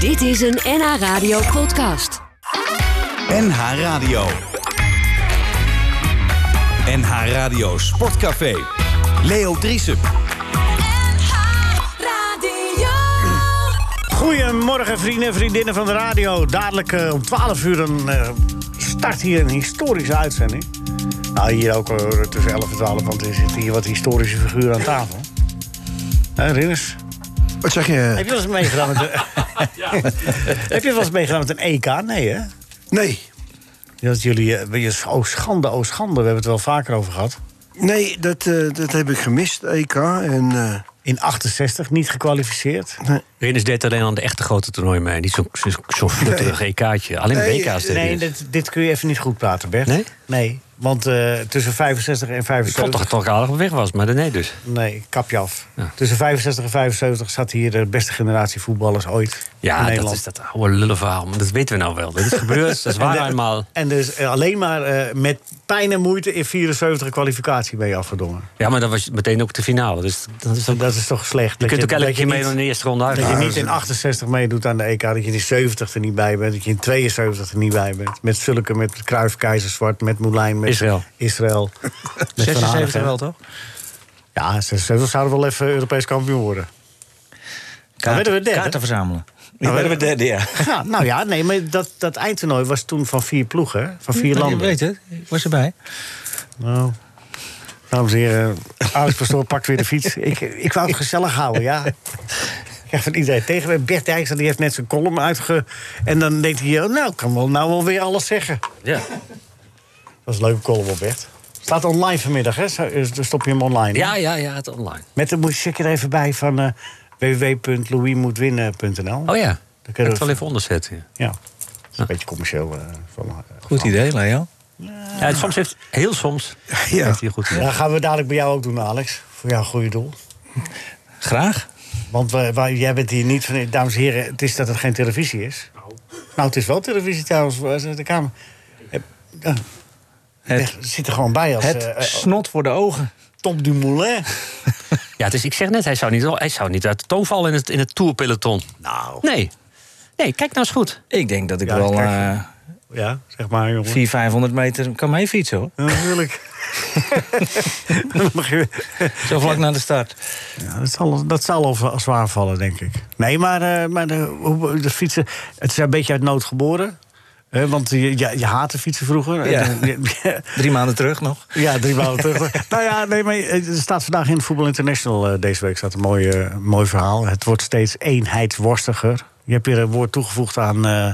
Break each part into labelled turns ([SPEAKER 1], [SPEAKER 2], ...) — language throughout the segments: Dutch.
[SPEAKER 1] Dit is een NH Radio podcast.
[SPEAKER 2] NH Radio. NH Radio Sportcafé. Leo Driesen.
[SPEAKER 3] Goedemorgen vrienden en vriendinnen van de radio. Dadelijk eh, om 12 uur een, eh, start hier een historische uitzending. Nou, hier ook eh, tussen 11 en 12, want er zitten hier wat historische figuren aan tafel. Hè, Rinus?
[SPEAKER 4] Wat zeg je?
[SPEAKER 3] Heb je wel eens meegedaan met een... Heb je wel eens meegedaan met een EK? Nee, hè?
[SPEAKER 4] Nee.
[SPEAKER 3] Dat jullie... eh, je- Oh, schande, oh, schande. We hebben het wel vaker over gehad.
[SPEAKER 4] Nee, dat, eh, dat heb ik gemist, EK. En, eh,
[SPEAKER 3] In 68 niet gekwalificeerd.
[SPEAKER 5] Rinus deed alleen aan de echte grote toernooi mee. Niet zo'n zo, zo flutterig EK'tje. Alleen
[SPEAKER 4] Nee,
[SPEAKER 5] WK's deed
[SPEAKER 3] Nee,
[SPEAKER 5] hij.
[SPEAKER 3] dit, dit kun je even niet goed praten, Bert.
[SPEAKER 5] Nee?
[SPEAKER 3] Nee, want eh, tussen 65 en
[SPEAKER 5] Ik vond
[SPEAKER 3] 75...
[SPEAKER 5] toch dat het al aardig weg was, maar nee dus.
[SPEAKER 3] Nee, kapje af.
[SPEAKER 5] Ja.
[SPEAKER 3] Tussen 65 en 75 zat hier de beste generatie voetballers ooit in
[SPEAKER 5] Ja, dat
[SPEAKER 3] Nederland.
[SPEAKER 5] is dat oude lullenverhaal. Maar dat weten we nou wel. Dat is gebeurd, dat is waar eenmaal.
[SPEAKER 3] En dus eh, alleen maar eh, met pijn en moeite in 74 een kwalificatie ben je afgedongen.
[SPEAKER 5] Ja, maar dat was meteen ook de finale. Dus dat is ook,
[SPEAKER 3] Dat is toch slecht.
[SPEAKER 5] je kunt ook elke
[SPEAKER 3] dat
[SPEAKER 5] keer
[SPEAKER 3] je
[SPEAKER 5] mee
[SPEAKER 3] niet-
[SPEAKER 5] in de eerste ronde uit.
[SPEAKER 3] Dat je niet in 68 meedoet aan de EK, dat je in 70 er niet bij bent, dat je in 72 er niet bij bent. Met Zulke, met Kruif, Keizerswart, met Moulijn, met
[SPEAKER 5] Israël.
[SPEAKER 3] Israël met Van Hanegem.
[SPEAKER 6] toch?
[SPEAKER 3] Ja, 76 zouden wel even Europees kampioen worden. Dan werden we derde.
[SPEAKER 6] Kaarten verzamelen.
[SPEAKER 3] Nou, werden we
[SPEAKER 6] derde, ja.
[SPEAKER 3] Ja, nou ja, nee, maar dat, dat eindtoernooi was toen van vier ploegen, hè? van vier
[SPEAKER 6] Ik
[SPEAKER 3] landen.
[SPEAKER 6] weet het, ik was erbij.
[SPEAKER 3] Nou, dames en heren, Alex Pastoor pakt weer de fiets. Ik, ik wou het gezellig houden, ja. Ik krijg van iedereen tegen me. Bert Dijkstra die heeft net zijn column uitge... En dan denkt hij, oh, nou, ik kan wel, nou wel weer alles zeggen.
[SPEAKER 5] Ja.
[SPEAKER 3] Dat is een leuke column op Bert. Staat online vanmiddag, hè? Zo- eh, Dan stop je hem online. hè?
[SPEAKER 5] ja, ja, ja, het online.
[SPEAKER 3] Met de moet je er even bij van eh www.louismoetwinnen.nl.
[SPEAKER 5] Oh ja,
[SPEAKER 3] Dan
[SPEAKER 5] dat
[SPEAKER 3] kunnen
[SPEAKER 5] kan
[SPEAKER 3] we-
[SPEAKER 5] het wel even onderzetten. ja.
[SPEAKER 3] Ja, dat is een beetje commercieel. eh, van, eh,
[SPEAKER 6] Goed idee, Leo.
[SPEAKER 5] Ja, het soms heeft, heel soms,
[SPEAKER 4] ja.
[SPEAKER 5] heeft hij een goed idee.
[SPEAKER 3] Ja, dat gaan we dadelijk bij jou ook doen, Alex. Voor jouw goede doel.
[SPEAKER 6] Graag.
[SPEAKER 3] Want we- wij- jij bent hier niet van... Dames en heren, het is dat het geen televisie is. Nou, het is wel televisie trouwens. waar is De kamer Eh,
[SPEAKER 6] Het,
[SPEAKER 3] zit er gewoon bij als
[SPEAKER 6] het
[SPEAKER 3] eh, eh,
[SPEAKER 6] snot voor de ogen.
[SPEAKER 3] Tom Dumoulin.
[SPEAKER 5] Ja, dus ik zeg net, hij zou niet, hij zou niet uit de toon vallen in het, in het tourpeloton.
[SPEAKER 3] Nou.
[SPEAKER 5] Nee. Nee, kijk nou eens goed.
[SPEAKER 6] Ik denk dat ik
[SPEAKER 3] Ja,
[SPEAKER 6] wel
[SPEAKER 3] dat krijg
[SPEAKER 6] eh
[SPEAKER 3] Ja, zeg maar, jongen.
[SPEAKER 6] 400, 500 meter kan mee fietsen, hoor.
[SPEAKER 3] Ja, Natuurlijk. Dan mag je-
[SPEAKER 6] Zo vlak na de start.
[SPEAKER 3] ja, dat, zal, dat zal al va- zwaar vallen, denk ik. Nee, maar, eh, maar de, hoe- de fietsen... Het is een beetje uit nood geboren. hè, want je, je, je haatte fietsen vroeger.
[SPEAKER 6] Ja.
[SPEAKER 3] En, eh,
[SPEAKER 6] Drie maanden terug nog.
[SPEAKER 3] Ja, drie maanden terug. nou ja, nee, maar eh, er staat vandaag in Voetbal International eh, deze week staat een mooi, eh, mooi verhaal. Het wordt steeds eenheidsworstiger. Je hebt weer een woord toegevoegd aan, eh,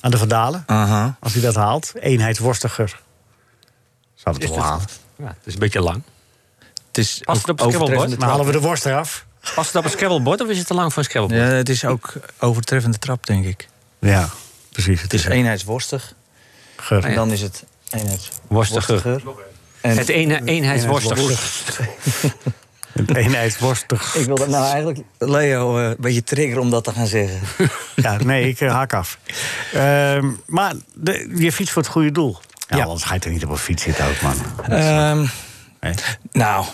[SPEAKER 3] aan de Vandalen.
[SPEAKER 6] Aha.
[SPEAKER 3] Als hij dat haalt, eenheidsworstiger. Zou het wel halen.
[SPEAKER 5] Ja, het is een beetje lang.
[SPEAKER 6] Het is
[SPEAKER 5] Past
[SPEAKER 6] ook
[SPEAKER 5] het op het
[SPEAKER 6] overtreffende
[SPEAKER 3] Dan halen
[SPEAKER 6] trap.
[SPEAKER 3] we de worst eraf.
[SPEAKER 5] Past het op een scrabblebord of is het te lang voor een
[SPEAKER 6] Ja,
[SPEAKER 5] scrabblebord?
[SPEAKER 6] het is ook overtreffende trap, denk ik. Ah,
[SPEAKER 3] Ja, precies.
[SPEAKER 6] Het is eenheidsworstig. En dan is het eenheidsworstiger. En
[SPEAKER 5] Het ene, eenheidsworstig.
[SPEAKER 3] eenheidsworstig.
[SPEAKER 6] ik wil dat nou eigenlijk Leo eh, een beetje triggeren om dat te gaan zeggen.
[SPEAKER 3] Ja, nee, ik eh, haak af. Ehm, maar de, je fiets voor het goede doel. Ja, anders ga je er niet op een fiets zitten ook, man.
[SPEAKER 6] Ehm,
[SPEAKER 3] Nee.
[SPEAKER 6] nou,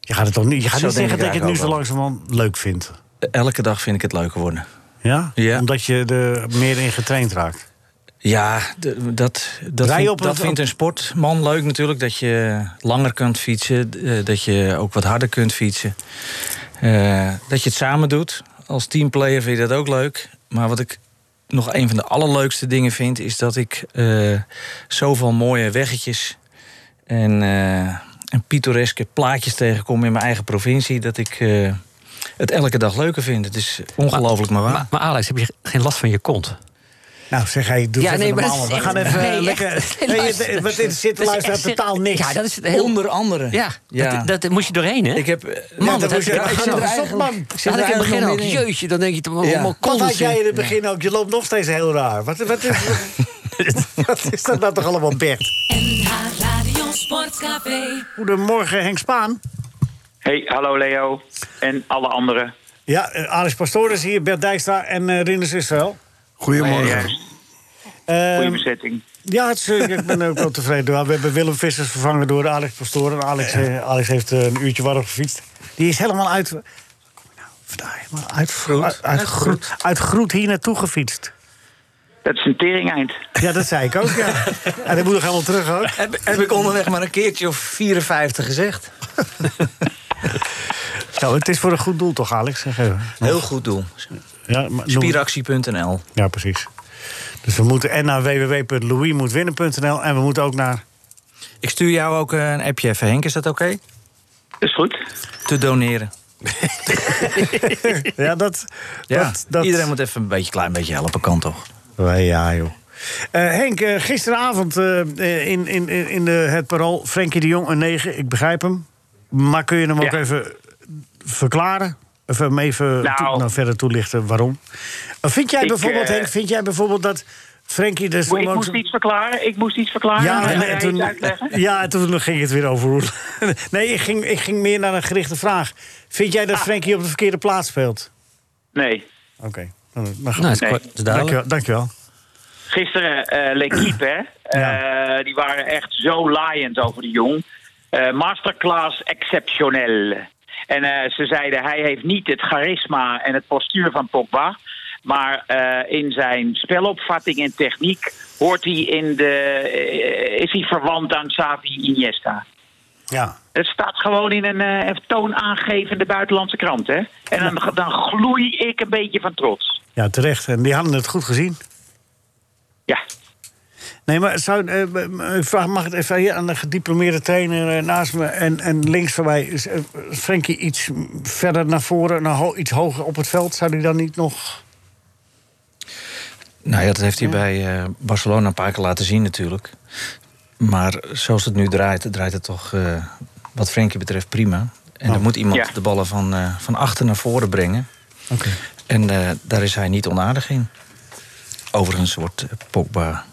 [SPEAKER 3] Je gaat het toch niet, je gaat
[SPEAKER 6] Zo
[SPEAKER 3] niet
[SPEAKER 6] denk
[SPEAKER 3] zeggen
[SPEAKER 6] ik
[SPEAKER 3] dat je het nu zo
[SPEAKER 6] eigenlijk
[SPEAKER 3] langzamerhand leuk vindt.
[SPEAKER 6] elke dag vind ik het leuker worden.
[SPEAKER 3] Ja?
[SPEAKER 6] Ja.
[SPEAKER 3] Omdat je er meer in getraind raakt.
[SPEAKER 6] Ja, d- dat, dat,
[SPEAKER 3] Rij
[SPEAKER 6] vind-
[SPEAKER 3] op een-
[SPEAKER 6] dat vindt een sportman leuk natuurlijk. Dat je langer kunt fietsen. d- eh, Dat je ook wat harder kunt fietsen. Eh, dat je het samen doet. Als teamplayer vind je dat ook leuk. Maar wat ik nog een van de allerleukste dingen vind... is dat ik eh, zoveel mooie weggetjes en, eh, en pittoreske plaatjes tegenkom... in mijn eigen provincie, dat ik... eh, het elke dag leuker vind. Het is ongelooflijk maar waar.
[SPEAKER 5] Maar, maar Alex, heb je geen last van je kont?
[SPEAKER 3] Nou, zeg hij, doe
[SPEAKER 5] Ja,
[SPEAKER 3] even
[SPEAKER 5] nee, maar
[SPEAKER 3] normaal.
[SPEAKER 5] dat is
[SPEAKER 3] We gaan
[SPEAKER 5] echt-
[SPEAKER 3] even eh,
[SPEAKER 5] nee,
[SPEAKER 3] lekker...
[SPEAKER 5] echt.
[SPEAKER 3] Nee,
[SPEAKER 5] Luister.
[SPEAKER 3] het- want dit zit de
[SPEAKER 5] Dat is
[SPEAKER 3] luisteraar
[SPEAKER 5] echt-
[SPEAKER 3] totaal niks.
[SPEAKER 5] Ja, dat is het heel...
[SPEAKER 6] Onder andere.
[SPEAKER 5] Ja, dat, dat, moest je doorheen, hè?
[SPEAKER 6] Ik heb... eh,
[SPEAKER 5] Man,
[SPEAKER 6] ja,
[SPEAKER 5] dat
[SPEAKER 6] heb
[SPEAKER 5] moet je-
[SPEAKER 6] ik-
[SPEAKER 5] ja,
[SPEAKER 6] ik
[SPEAKER 5] ik
[SPEAKER 6] zat
[SPEAKER 5] zit
[SPEAKER 6] er
[SPEAKER 5] er
[SPEAKER 6] eigenlijk-
[SPEAKER 3] man.
[SPEAKER 6] ik zat
[SPEAKER 5] Had
[SPEAKER 6] er
[SPEAKER 5] ik in het begin
[SPEAKER 6] eigenlijk nog
[SPEAKER 5] ook.
[SPEAKER 6] middenin.
[SPEAKER 5] Jeetje, dan denk je toch
[SPEAKER 6] Ja.
[SPEAKER 5] allemaal
[SPEAKER 3] Wat had
[SPEAKER 5] kondeltje.
[SPEAKER 3] jij in het begin ook? Je loopt nog steeds heel raar. Wat, wat, is, wat is dat nou toch allemaal, Bert?
[SPEAKER 1] NH Radio Sportcafé.
[SPEAKER 3] Goedemorgen, Henk Spaan.
[SPEAKER 7] Hey, hallo Leo en alle anderen.
[SPEAKER 3] Ja, eh, Alex Pastoor is hier, Bert Dijkstra en eh Rinus Israël.
[SPEAKER 4] Goedemorgen.
[SPEAKER 7] Juist,
[SPEAKER 3] Eh,
[SPEAKER 7] goede bezetting.
[SPEAKER 3] ja, het is, eh, ik ben ook wel tevreden. We hebben Willem Vissers vervangen door Alex Pastoor. En Alex, eh, Alex heeft eh, een uurtje warm gefietst. Die is helemaal uit... Kom nou, Uit Groet. Uit, uit Groet. Uit Groet hier naartoe gefietst.
[SPEAKER 7] Dat is een tering eind.
[SPEAKER 3] Ja, dat zei ik ook, ja. En dat moet nog helemaal terug ook.
[SPEAKER 6] Heb, heb ik onderweg maar een keertje of 54 gezegd.
[SPEAKER 3] Nou, het is voor een goed doel toch, Alex? Zeg even.
[SPEAKER 6] Heel goed doel.
[SPEAKER 3] Ja, maar noem-
[SPEAKER 6] Spieractie.nl.
[SPEAKER 3] ja, precies. Dus we moeten en naar www.louismoetwinnen.nl en we moeten ook naar...
[SPEAKER 6] Ik stuur jou ook eh, een appje even, Henk, is dat oké?
[SPEAKER 7] Is goed.
[SPEAKER 6] Te doneren.
[SPEAKER 3] Ja, dat...
[SPEAKER 6] Ja,
[SPEAKER 3] dat, dat...
[SPEAKER 6] Iedereen moet even een beetje, klein beetje helpen, kan toch?
[SPEAKER 3] Nee, Ja, joh. Eh, Henk, eh, gisteravond eh, in, in, in in de, het parool Frenkie de Jong een 9. Ik begrijp hem. Maar kun je hem ook
[SPEAKER 7] Ja.
[SPEAKER 3] even verklaren? Of hem even
[SPEAKER 7] Nou.
[SPEAKER 3] toe- verder toelichten waarom? Eh, vind jij
[SPEAKER 7] Ik,
[SPEAKER 3] bijvoorbeeld,
[SPEAKER 7] eh,
[SPEAKER 3] Henk, vind jij bijvoorbeeld dat Frenkie dus
[SPEAKER 7] ik moest iets verklaren. Ik moest iets verklaren.
[SPEAKER 3] ja,
[SPEAKER 7] Ga
[SPEAKER 3] en,
[SPEAKER 7] jij
[SPEAKER 3] en
[SPEAKER 7] iets
[SPEAKER 3] toen,
[SPEAKER 7] uitleggen?
[SPEAKER 3] ja, en toen ging het weer over. hoe- nee, ik ging, ik ging meer naar een gerichte vraag. Vind jij dat
[SPEAKER 7] Ah.
[SPEAKER 3] Frenkie op de verkeerde plaats speelt?
[SPEAKER 7] Nee.
[SPEAKER 3] Oké, nou, maar goed.
[SPEAKER 5] Nou, het is
[SPEAKER 7] Nee.
[SPEAKER 5] kwart- het is
[SPEAKER 3] dankjewel,
[SPEAKER 5] duidelijk.
[SPEAKER 3] dankjewel.
[SPEAKER 7] Gisteren eh L'Equipe, hè.
[SPEAKER 3] Ja.
[SPEAKER 7] Eh, die waren echt zo laaiend over de jong. Eh, masterclass exceptioneel. En eh, ze zeiden, hij heeft niet het charisma en het postuur van Pogba. Maar eh, in zijn spelopvatting en techniek hoort hij in de, eh, is hij verwant aan Xavi Iniesta.
[SPEAKER 3] Ja.
[SPEAKER 7] Het staat gewoon in een eh, toonaangevende buitenlandse krant, hè? En dan, dan gloei ik een beetje van trots.
[SPEAKER 3] ja, terecht. En die hadden het goed gezien.
[SPEAKER 7] Ja,
[SPEAKER 3] Nee, maar zou, eh, m- m- ik vraag, mag het even hier aan de gediplomeerde trainer eh, naast me en, en links van mij. Is, eh, Frenkie iets verder naar voren, naar ho- iets hoger op het veld? Zou die dan niet nog...
[SPEAKER 6] Nou ja, dat heeft hij bij eh, Barcelona een paar keer laten zien natuurlijk. Maar zoals het nu draait, draait het toch eh, wat Frenkie betreft prima. En dan moet iemand
[SPEAKER 7] Ja.
[SPEAKER 6] de ballen van, eh, van achter naar voren brengen. En eh, daar is hij niet onaardig in. Overigens wordt eh, Pogba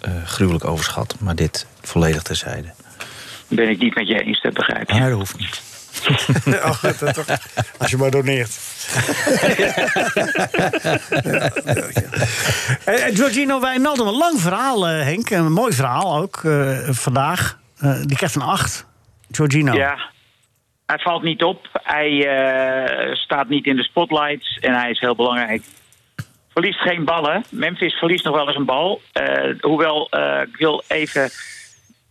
[SPEAKER 6] eh, gruwelijk overschat. Maar dit volledig terzijde.
[SPEAKER 7] ben ik niet met je eens, dat begrijp je.
[SPEAKER 6] Maar dat hoeft niet.
[SPEAKER 3] Oh, dat toch. Als je maar doneert. Eh, eh, Giorgino Wijnaldum, een lang verhaal, eh, Henk. Een mooi verhaal ook, eh, vandaag. Eh, die krijgt een 8. Giorgino.
[SPEAKER 7] Ja, hij valt niet op. Hij eh, staat niet in de spotlights en hij is heel belangrijk. Verliest geen ballen. Memphis verliest nog wel eens een bal. Eh, hoewel, eh, ik wil even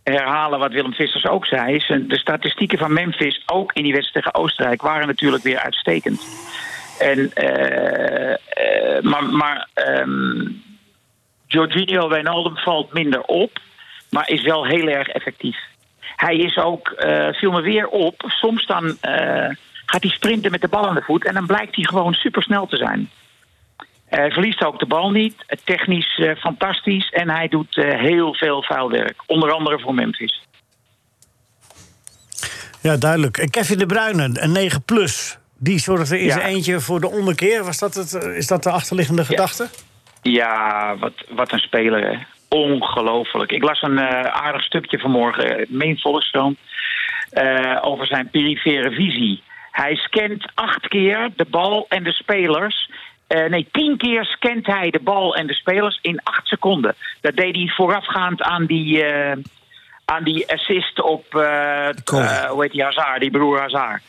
[SPEAKER 7] herhalen wat Willem Vissers ook zei. Is, eh, de statistieken van Memphis, ook in die wedstrijd tegen Oostenrijk, waren natuurlijk weer uitstekend. En, eh, eh, maar maar ehm, Jorginho Wijnaldum valt minder op, maar is wel heel erg effectief. Hij is ook, eh, viel me weer op, soms dan eh, gaat hij sprinten met de bal aan de voet... en dan blijkt hij gewoon supersnel te zijn. Eh, Hij verliest ook de bal niet, eh, technisch eh, fantastisch... en hij doet eh, heel veel vuilwerk, onder andere voor Memphis.
[SPEAKER 3] Ja, duidelijk. En Kevin de Bruyne, een 9 plus. Die zorgde in
[SPEAKER 7] Ja.
[SPEAKER 3] zijn eentje voor de ommekeer. Was dat het, eh, is dat de achterliggende gedachte?
[SPEAKER 7] Ja, wat, wat een speler, hè. Ongelooflijk. Ik las een eh, aardig stukje vanmorgen, eh, Meen Volkskrant, eh, over zijn perifere visie. Hij scant acht keer de bal en de spelers. Eh, nee, tien keer scant hij de bal en de spelers in acht seconden. Dat deed hij voorafgaand aan die, eh, aan die assist op, eh, eh, hoe heet die, Hazard, die broer Hazard.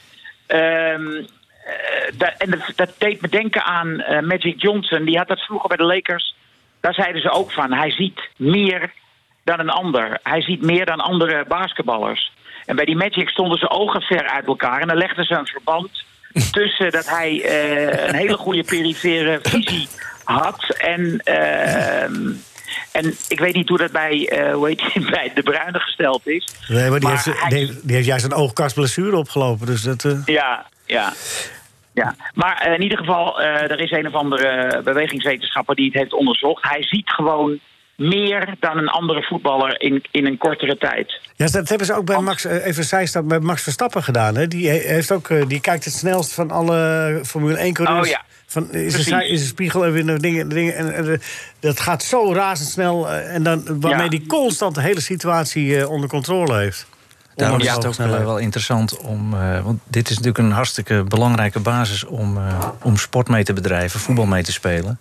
[SPEAKER 7] Ehm, eh, da- en dat, dat deed me denken aan eh, Magic Johnson. Die had dat vroeger bij de Lakers. Daar zeiden ze ook van. Hij ziet meer dan een ander. Hij ziet meer dan andere basketballers. En bij die Magic stonden ze ogen ver uit elkaar. En dan legden ze een verband tussen dat hij eh, een hele goede perifere visie had. En, ehm, en ik weet niet hoe dat bij, eh, hoe heet die, bij De Bruyne gesteld is.
[SPEAKER 3] Nee, maar die,
[SPEAKER 7] Maar
[SPEAKER 3] heeft,
[SPEAKER 7] hij-
[SPEAKER 3] die, heeft- die heeft juist een oogkastblessure opgelopen. Dus dat, eh,
[SPEAKER 7] Ja, ja. ja. Maar eh, in ieder geval, eh, er is een of andere bewegingswetenschapper die het heeft onderzocht. Hij ziet gewoon meer dan een andere voetballer in, in een kortere tijd.
[SPEAKER 3] ja, dat hebben ze ook
[SPEAKER 7] Oh.
[SPEAKER 3] bij Max, eh, even zijstap, bij Max Verstappen gedaan. Hè? Die, he- heeft ook, eh, die kijkt het snelst van alle Formule 1 coureurs.
[SPEAKER 7] Oh, ja.
[SPEAKER 3] Van, is, een,
[SPEAKER 7] Precies.
[SPEAKER 3] zij- is een spiegel en weer naar dingen. dingen en, en, eh, dat gaat zo razendsnel. eh, En dan, waarmee
[SPEAKER 7] Ja.
[SPEAKER 3] die constant de hele situatie eh, onder controle heeft.
[SPEAKER 6] Daarom
[SPEAKER 3] Ondanks
[SPEAKER 6] is het
[SPEAKER 3] de
[SPEAKER 6] ook
[SPEAKER 3] hoge
[SPEAKER 6] wel, wel interessant om. eh, want dit is natuurlijk een hartstikke belangrijke basis om, eh, om sport mee te bedrijven, voetbal mee te spelen.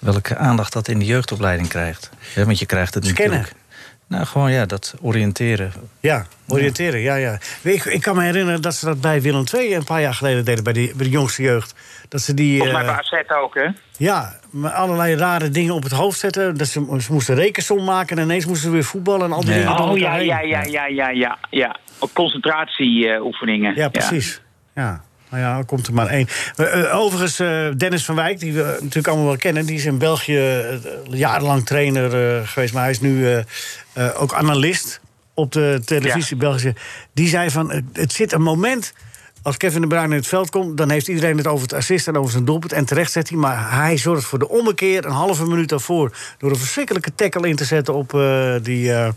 [SPEAKER 6] Welke aandacht dat in de jeugdopleiding krijgt. Hè, want je krijgt het
[SPEAKER 3] Ze kennen.
[SPEAKER 6] natuurlijk. Nou, gewoon ja, dat oriënteren.
[SPEAKER 3] Ja, oriënteren, ja, ja. Ik, ik kan me herinneren dat ze dat bij Willem II een paar jaar geleden deden, bij, die, bij de jongste jeugd. Dat ze die.
[SPEAKER 7] Volgens
[SPEAKER 3] eh,
[SPEAKER 7] mij bij AZ ook, hè?
[SPEAKER 3] ja, maar allerlei rare dingen op het hoofd zetten. Dat ze, ze moesten rekensom maken en ineens moesten ze weer voetballen en al die
[SPEAKER 6] Ja.
[SPEAKER 3] dingen. door
[SPEAKER 7] Oh ja,
[SPEAKER 3] elkaar heen.
[SPEAKER 7] ja, ja, ja, ja, ja. ja. eh, Concentratieoefeningen.
[SPEAKER 3] Ja, precies. Ja. Nou ja, er komt er maar één. Eh, eh, Overigens, eh, Dennis van Wijk, die we natuurlijk allemaal wel kennen... die is in België eh, jarenlang trainer eh, geweest... maar hij is nu eh, eh, ook analist op de televisie Belgische. Die zei van, het, het zit een moment... als Kevin de Bruyne in het veld komt... dan heeft iedereen het over het assist en over zijn doelpunt. En terecht zet hij, maar hij zorgt voor de ommekeer... een halve minuut daarvoor... door een verschrikkelijke tackle in te zetten op eh, die... eh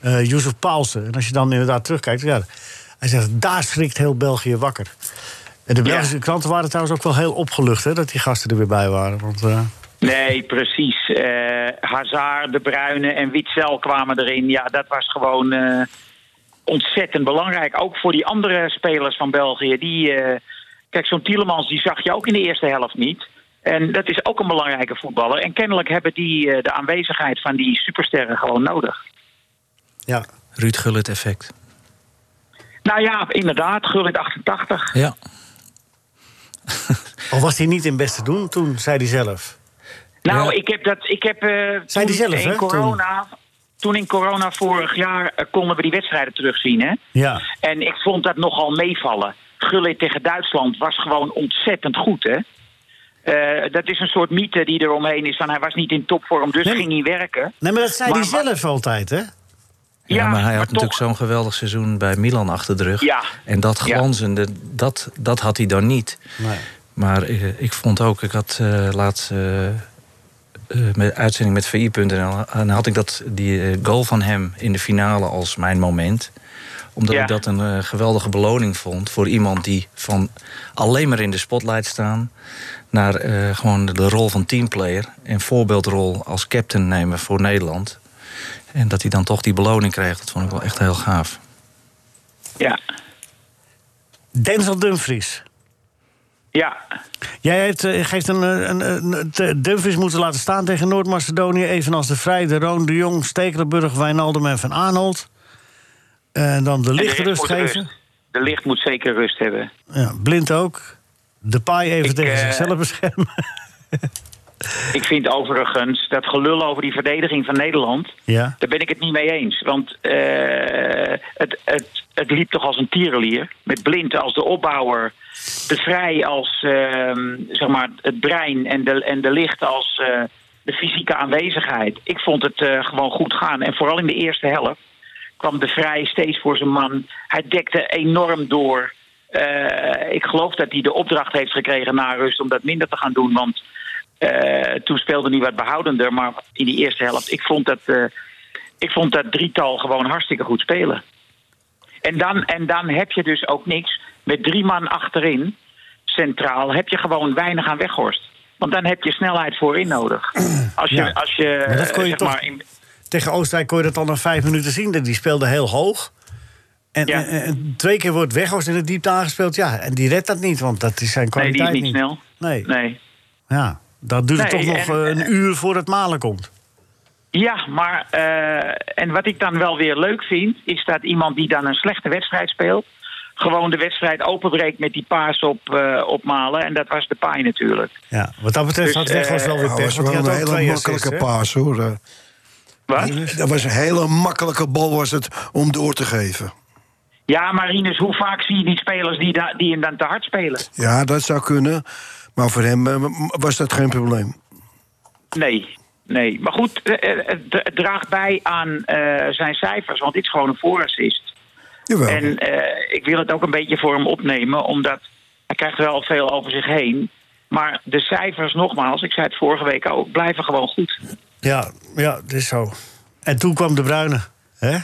[SPEAKER 3] eh Jozef Paulsen. En als je dan inderdaad terugkijkt, ja, hij zegt, daar schrikt heel België wakker. En de Belgische kranten waren trouwens ook wel heel opgelucht hè, dat die gasten er weer bij waren. Want, eh,
[SPEAKER 7] Nee, precies. Eh Hazard, De Bruyne en Witzel kwamen erin. Ja, dat was gewoon eh, ontzettend belangrijk. Ook voor die andere spelers van België. Die, eh, kijk, zo'n Tielemans die zag je ook in de eerste helft niet. En dat is ook een belangrijke voetballer. En kennelijk hebben die eh, de aanwezigheid van die supersterren gewoon nodig.
[SPEAKER 3] ja.
[SPEAKER 6] Ruud Gullit effect.
[SPEAKER 7] Nou ja, inderdaad, Gullit 88.
[SPEAKER 6] Ja.
[SPEAKER 3] Al was hij niet in best te doen toen, zei hij zelf.
[SPEAKER 7] Nou,
[SPEAKER 6] Ja.
[SPEAKER 7] ik heb dat. Ik heb. eh,
[SPEAKER 3] Zei die
[SPEAKER 7] toen
[SPEAKER 3] zelf,
[SPEAKER 7] in
[SPEAKER 3] hè,
[SPEAKER 7] Corona, toen. in corona vorig jaar eh, konden we die wedstrijden terugzien, hè?
[SPEAKER 3] Ja,
[SPEAKER 7] En ik vond dat nogal meevallen. Gullit tegen Duitsland was gewoon ontzettend goed, hè? Eh, dat is een soort mythe die er omheen is van hij was niet in topvorm, dus
[SPEAKER 3] Nee.
[SPEAKER 7] ging hij werken.
[SPEAKER 3] nee, maar dat zei
[SPEAKER 7] Maar-
[SPEAKER 3] hij zelf altijd, hè?
[SPEAKER 6] Ja, maar hij had
[SPEAKER 7] maar
[SPEAKER 6] natuurlijk
[SPEAKER 7] toch-
[SPEAKER 6] zo'n geweldig seizoen bij Milan achter de rug.
[SPEAKER 7] Ja.
[SPEAKER 6] En dat
[SPEAKER 7] Ja.
[SPEAKER 6] glanzende, dat, dat had hij dan niet.
[SPEAKER 3] Nee.
[SPEAKER 6] Maar eh, ik, ik vond ook, ik had eh, laatst eh, eh, met uitzending met VI.nl... en had ik dat, die eh, goal van hem in de finale als mijn moment. Omdat
[SPEAKER 7] Ja.
[SPEAKER 6] ik dat een eh, geweldige beloning vond voor iemand die van alleen maar in de spotlight staan... naar eh, gewoon de rol van teamplayer en voorbeeldrol als captain nemen voor Nederland... En dat hij dan toch die beloning kreeg, dat vond ik wel echt heel gaaf.
[SPEAKER 7] Ja,
[SPEAKER 3] Denzel Dumfries.
[SPEAKER 7] ja.
[SPEAKER 3] Jij heeft, eh, geeft een, eh, een, een- te- Dumfries moeten laten staan tegen Noord-Macedonië... evenals De Vrij, De Roon, De Jong, Stekelenburg, Wijnaldum en Van Aanholt. En dan de
[SPEAKER 7] En
[SPEAKER 3] licht
[SPEAKER 7] de
[SPEAKER 3] rust
[SPEAKER 7] moet
[SPEAKER 3] geven.
[SPEAKER 7] rust. De licht moet zeker rust hebben.
[SPEAKER 3] Ja, blind ook. De paai even
[SPEAKER 7] Ik,
[SPEAKER 3] tegen
[SPEAKER 7] eh,
[SPEAKER 3] zichzelf beschermen.
[SPEAKER 7] Ik vind overigens dat gelul over die verdediging van Nederland.
[SPEAKER 3] ja.
[SPEAKER 7] Daar ben ik het niet mee eens. Want eh, het, het, het liep toch als een tierenlier. Met Blind als de opbouwer. De Vrij als ehm, zeg maar het brein. En de, en de Licht als eh, de fysieke aanwezigheid. Ik vond het eh, gewoon goed gaan. En vooral in de eerste helft kwam De Vrij steeds voor zijn man. Hij dekte enorm door. Eh, ik geloof dat hij de opdracht heeft gekregen na rust om dat minder te gaan doen. Want eh, toen speelde hij wat behoudender. Maar in die eerste helft, ik vond dat, eh, ik vond dat drietal gewoon hartstikke goed spelen. En dan, en dan heb je dus ook niks. Met drie man achterin, centraal, heb je gewoon weinig aan weghorst. Want dan heb je snelheid voorin nodig. Als je,
[SPEAKER 3] Ja.
[SPEAKER 7] als je,
[SPEAKER 3] Maar dat kon je
[SPEAKER 7] zeg
[SPEAKER 3] toch-
[SPEAKER 7] maar in-
[SPEAKER 3] Tegen Oostenrijk kon je dat al na vijf minuten zien. dat Die speelde heel hoog. En,
[SPEAKER 7] Ja.
[SPEAKER 3] en- en twee keer wordt Weghorst in het diepte aangespeeld. Ja, en die redt dat niet, want dat is zijn
[SPEAKER 7] nee, die
[SPEAKER 3] kwaliteit
[SPEAKER 7] is niet snel.
[SPEAKER 3] Nee.
[SPEAKER 7] nee.
[SPEAKER 3] Ja, dat duurt het
[SPEAKER 7] Nee,
[SPEAKER 3] toch nog
[SPEAKER 7] en-
[SPEAKER 3] eh, een uur voordat Malen komt.
[SPEAKER 7] Ja, maar eh, en wat ik dan wel weer leuk vind, is dat iemand die dan een slechte wedstrijd speelt, gewoon de wedstrijd openbreekt met die paas op, eh, op Malen. En dat was de paai natuurlijk.
[SPEAKER 3] Ja, wat dat betreft
[SPEAKER 7] Dus,
[SPEAKER 3] had Weghorst
[SPEAKER 7] eh,
[SPEAKER 3] wel weer
[SPEAKER 4] Dat
[SPEAKER 3] pech.
[SPEAKER 4] was
[SPEAKER 3] want
[SPEAKER 4] wel
[SPEAKER 3] die
[SPEAKER 4] een
[SPEAKER 3] had ook
[SPEAKER 4] hele
[SPEAKER 3] twee
[SPEAKER 4] makkelijke
[SPEAKER 3] assists, hè?
[SPEAKER 4] paas, hoor. Eh,
[SPEAKER 7] Wat?
[SPEAKER 4] Dat was een hele makkelijke bal was het om door te geven.
[SPEAKER 7] Ja, Marinus, hoe vaak zie je die spelers die, da- die hem dan te hard spelen?
[SPEAKER 4] Ja, dat zou kunnen. Maar voor hem eh, was dat geen probleem.
[SPEAKER 7] Nee, nee. Maar goed, eh, eh, het dra- het draagt bij aan eh, zijn cijfers, want dit is gewoon een voorassist.
[SPEAKER 4] Jawel.
[SPEAKER 7] En eh, ik wil het ook een beetje voor hem opnemen, omdat hij krijgt wel veel over zich heen. Maar de cijfers, nogmaals, ik zei het vorige week ook, blijven gewoon goed.
[SPEAKER 3] Ja, ja, dat is zo. En toen kwam De Bruyne. Hè?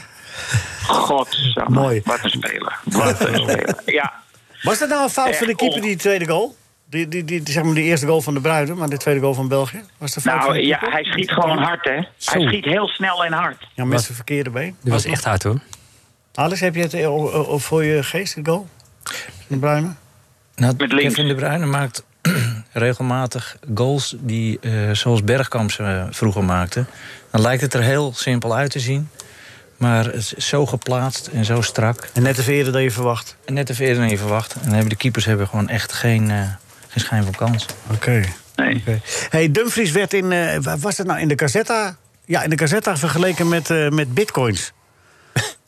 [SPEAKER 7] Godsamme,
[SPEAKER 3] Mooi.
[SPEAKER 7] wat een speler. Wat een speler, ja.
[SPEAKER 3] Was dat nou een fout
[SPEAKER 7] Echt
[SPEAKER 3] van de keeper,
[SPEAKER 7] on-
[SPEAKER 3] die tweede goal? Die, die, die, zeg maar die eerste goal van De Bruyne, maar de tweede goal van België? Was de fout van
[SPEAKER 7] Nou
[SPEAKER 3] de
[SPEAKER 7] ja,
[SPEAKER 3] keeper?
[SPEAKER 7] hij schiet gewoon hard, hè. Hij
[SPEAKER 5] Zo.
[SPEAKER 7] schiet heel snel en hard.
[SPEAKER 3] Ja, met zijn verkeerde been.
[SPEAKER 5] Die was echt hard hoor.
[SPEAKER 3] Alles heb je het eh, o- o- voor je geest, de goal? Van De Bruyne?
[SPEAKER 6] Nou,
[SPEAKER 7] Met links.
[SPEAKER 6] Kevin de Bruyne maakt regelmatig goals die eh, zoals Bergkamp ze eh, vroeger maakte. Dan lijkt het er heel simpel uit te zien. Maar het is zo geplaatst en zo strak.
[SPEAKER 3] En net even eerder dan je verwacht.
[SPEAKER 6] En net even eerder dan je verwacht. En dan hebben de keepers hebben gewoon echt geen, eh, geen schijn van kans.
[SPEAKER 3] Oké.
[SPEAKER 7] Nee.
[SPEAKER 3] Oké. Hey, Dumfries werd in, eh, waar was het nou, in de Gazetta? Ja, in de Gazetta vergeleken met, eh, met bitcoins.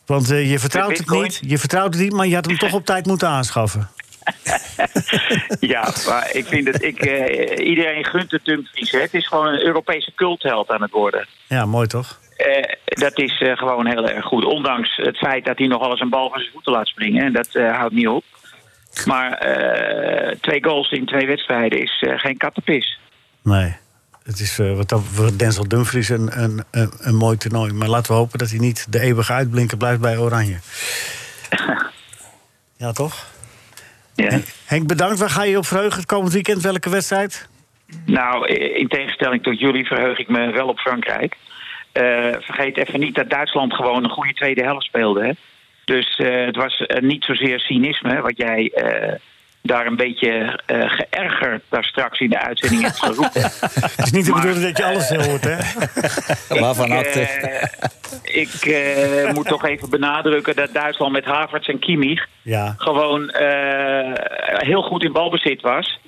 [SPEAKER 3] Want eh, je vertrouwt het
[SPEAKER 7] bitcoin?
[SPEAKER 3] niet, je vertrouwt het niet, maar je had hem toch op tijd moeten aanschaffen.
[SPEAKER 7] Ja, maar ik vind dat ik, eh, iedereen gunt het Dumfries. Hè. Het is gewoon een Europese cultheld aan het worden.
[SPEAKER 3] Ja, mooi toch?
[SPEAKER 7] Eh, dat is eh, gewoon heel erg goed. Ondanks het feit dat hij nogal eens een bal van zijn voeten laat springen. En dat eh, houdt niet op. Maar eh, twee goals in twee wedstrijden is eh, geen kattenpis.
[SPEAKER 3] Nee. Het is eh, wat dat, voor Denzel Dumfries een, een, een, een mooi toernooi. Maar laten we hopen dat hij niet de eeuwige uitblinker blijft bij Oranje. ja, toch?
[SPEAKER 7] Ja.
[SPEAKER 3] Henk, bedankt. Waar ga je op verheugen het komend weekend? Welke wedstrijd?
[SPEAKER 7] Nou, eh, in tegenstelling tot jullie verheug ik me wel op Frankrijk. Eh, vergeet even niet dat Duitsland gewoon een goede tweede helft speelde. Hè? Dus eh, het was eh, niet zozeer cynisme, wat jij eh, daar een beetje eh, geërgerd daar straks in de uitzending hebt geroepen.
[SPEAKER 3] Het is niet de
[SPEAKER 7] Maar,
[SPEAKER 3] bedoeling dat je alles hoort, hè?
[SPEAKER 6] Waarvan
[SPEAKER 7] ik eh, ik eh, moet toch even benadrukken dat Duitsland met Havertz en Kimmich
[SPEAKER 3] Ja.
[SPEAKER 7] gewoon eh, heel goed in balbezit was.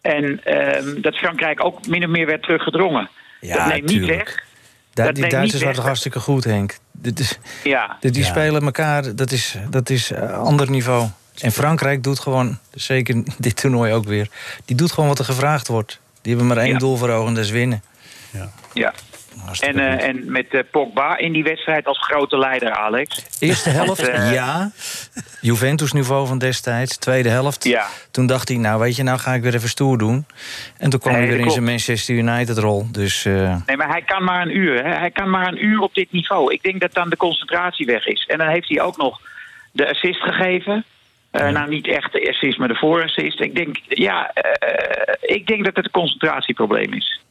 [SPEAKER 7] En ehm, dat Frankrijk ook min of meer werd teruggedrongen.
[SPEAKER 6] Ja,
[SPEAKER 7] dat neemt niet
[SPEAKER 6] tuurlijk.
[SPEAKER 7] weg.
[SPEAKER 6] Da-
[SPEAKER 7] Dat
[SPEAKER 6] die
[SPEAKER 7] neemt niet
[SPEAKER 6] Duitsers
[SPEAKER 7] weg
[SPEAKER 6] waren toch
[SPEAKER 7] dat-
[SPEAKER 6] hartstikke goed, Henk. Dit is,
[SPEAKER 7] Ja,
[SPEAKER 6] dit, die
[SPEAKER 3] Ja.
[SPEAKER 6] spelen elkaar, dat is, dat is eh, ander niveau. En Frankrijk doet gewoon, zeker dit toernooi ook weer... die doet gewoon wat er gevraagd wordt. Die hebben maar één
[SPEAKER 7] Ja.
[SPEAKER 6] doel voor ogen, dat is winnen.
[SPEAKER 3] ja.
[SPEAKER 7] ja. En,
[SPEAKER 6] Hartstikke
[SPEAKER 7] eh,
[SPEAKER 6] goed.
[SPEAKER 7] en met eh, Pogba in die wedstrijd als grote leider, Alex.
[SPEAKER 6] Eerste helft,
[SPEAKER 7] eh,
[SPEAKER 6] ja. Juventus-niveau van destijds. Tweede helft.
[SPEAKER 7] Ja.
[SPEAKER 6] Toen dacht hij, nou weet je, nou ga ik weer even stoer doen. En toen kwam
[SPEAKER 7] Nee,
[SPEAKER 6] hij weer
[SPEAKER 7] dat
[SPEAKER 6] in zijn
[SPEAKER 7] klopt.
[SPEAKER 6] Manchester United-rol. Dus eh,
[SPEAKER 7] Nee, maar hij kan maar een uur. Hè. Hij kan maar een uur op dit niveau. Ik denk dat dan de concentratie weg is. En dan heeft hij ook nog de assist gegeven. Eh, Nou, niet echt de assist, maar de voorassist. Ik denk, ja, eh, ik denk dat het een concentratieprobleem is.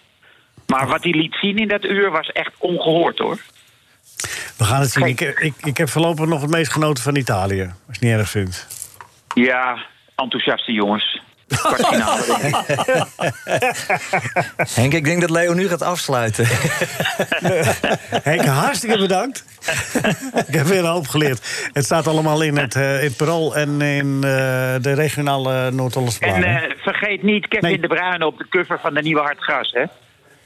[SPEAKER 7] Maar wat hij liet zien in dat uur was echt ongehoord, hoor.
[SPEAKER 3] We gaan het zien. Ik, ik, ik heb voorlopig nog het meest genoten van Italië. Als je het niet erg vindt.
[SPEAKER 7] Ja, enthousiaste jongens. Kwartfinale, denk ik.
[SPEAKER 6] Henk, ik denk dat Leo nu gaat afsluiten.
[SPEAKER 3] Henk, hartstikke bedankt. ik heb weer een hoop geleerd. Het staat allemaal in het, eh, in het Parool en in eh, de regionale Noord-Hollandse
[SPEAKER 7] En
[SPEAKER 3] Bladen.
[SPEAKER 7] eh, vergeet niet Kevin
[SPEAKER 3] Nee.
[SPEAKER 7] de Bruyne op de cover van de nieuwe Hartgras. Hè?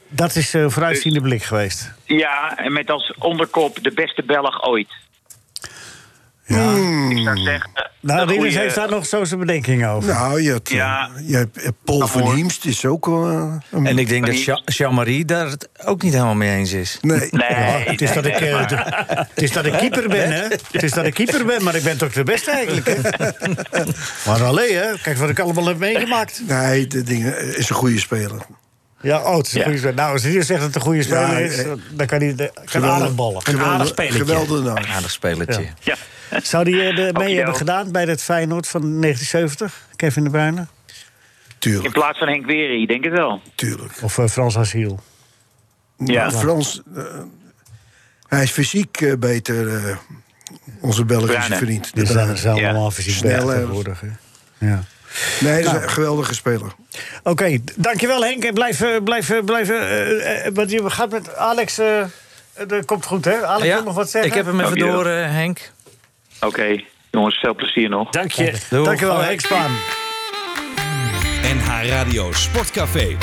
[SPEAKER 3] Dat is eh vooruitziende blik geweest. Nou,
[SPEAKER 7] Ja, en met als onderkop de beste Belg ooit. Hmm.
[SPEAKER 3] Ja.
[SPEAKER 7] Ik zou zeggen...
[SPEAKER 3] Nou,
[SPEAKER 7] een
[SPEAKER 3] Rinus
[SPEAKER 7] goeie-
[SPEAKER 3] heeft daar nog zo zijn bedenkingen over.
[SPEAKER 4] Nou, je hebt, eh,
[SPEAKER 7] Ja.
[SPEAKER 4] je hebt eh, Paul van
[SPEAKER 7] hoor.
[SPEAKER 4] Hiemst is ook wel eh, een...
[SPEAKER 6] En ik denk dat
[SPEAKER 7] niet.
[SPEAKER 6] Jean- Jean-Marie daar het ook niet helemaal mee eens is.
[SPEAKER 4] nee.
[SPEAKER 7] Nee,
[SPEAKER 3] het, is dat ik, eh, de- het is dat ik keeper ben, hè? Het is dat ik keeper ben, maar ik ben toch de beste eigenlijk. hè? maar alleen, hè? Kijk wat ik allemaal heb meegemaakt.
[SPEAKER 4] Nee, de ding eh, is een goede speler.
[SPEAKER 3] Ja, oh, het is een
[SPEAKER 7] Ja.
[SPEAKER 3] goede speler. Nou, als hij zegt dat het een goede speler
[SPEAKER 4] Ja,
[SPEAKER 3] is,
[SPEAKER 4] eh,
[SPEAKER 3] dan kan hij de, kan aardig ballen.
[SPEAKER 4] Geweldig
[SPEAKER 5] spelletje.
[SPEAKER 4] Geweldig nou.
[SPEAKER 6] Aardig spelletje.
[SPEAKER 3] Ja.
[SPEAKER 7] Ja.
[SPEAKER 3] Zou hij eh, er mee
[SPEAKER 7] Okido.
[SPEAKER 3] hebben gedaan bij dat Feyenoord van 1970? Kevin de Bruyne?
[SPEAKER 7] In
[SPEAKER 4] Tuurlijk,
[SPEAKER 7] plaats van Henk Wery, denk het wel.
[SPEAKER 4] tuurlijk.
[SPEAKER 3] Of eh, Frans Asiel?
[SPEAKER 7] Ja.
[SPEAKER 4] Nou, Frans, eh, hij is fysiek eh, beter, eh, onze Belgische
[SPEAKER 7] Bruine.
[SPEAKER 4] vriend.
[SPEAKER 3] Dit zijn zijn
[SPEAKER 7] Ja.
[SPEAKER 3] allemaal fysiek
[SPEAKER 4] Snelle-
[SPEAKER 3] beter tegenwoordig. hè? Ja.
[SPEAKER 4] Nee, hij is een geweldige speler.
[SPEAKER 3] Oké, d- dankjewel Henk. En blijf, eh, blijf, eh, blijf. eh, eh, Want je gaat met Alex. eh, eh, dat komt goed, hè? Alex
[SPEAKER 6] Ja,
[SPEAKER 3] wil nog wat zeggen.
[SPEAKER 6] Ik heb hem even
[SPEAKER 7] Dankjewel.
[SPEAKER 6] door, eh, Henk.
[SPEAKER 7] Oké, jongens, veel plezier nog.
[SPEAKER 5] Dank je.
[SPEAKER 6] Doe.
[SPEAKER 3] Dankjewel, Henk Spaan.
[SPEAKER 2] NH Radio Sportcafé.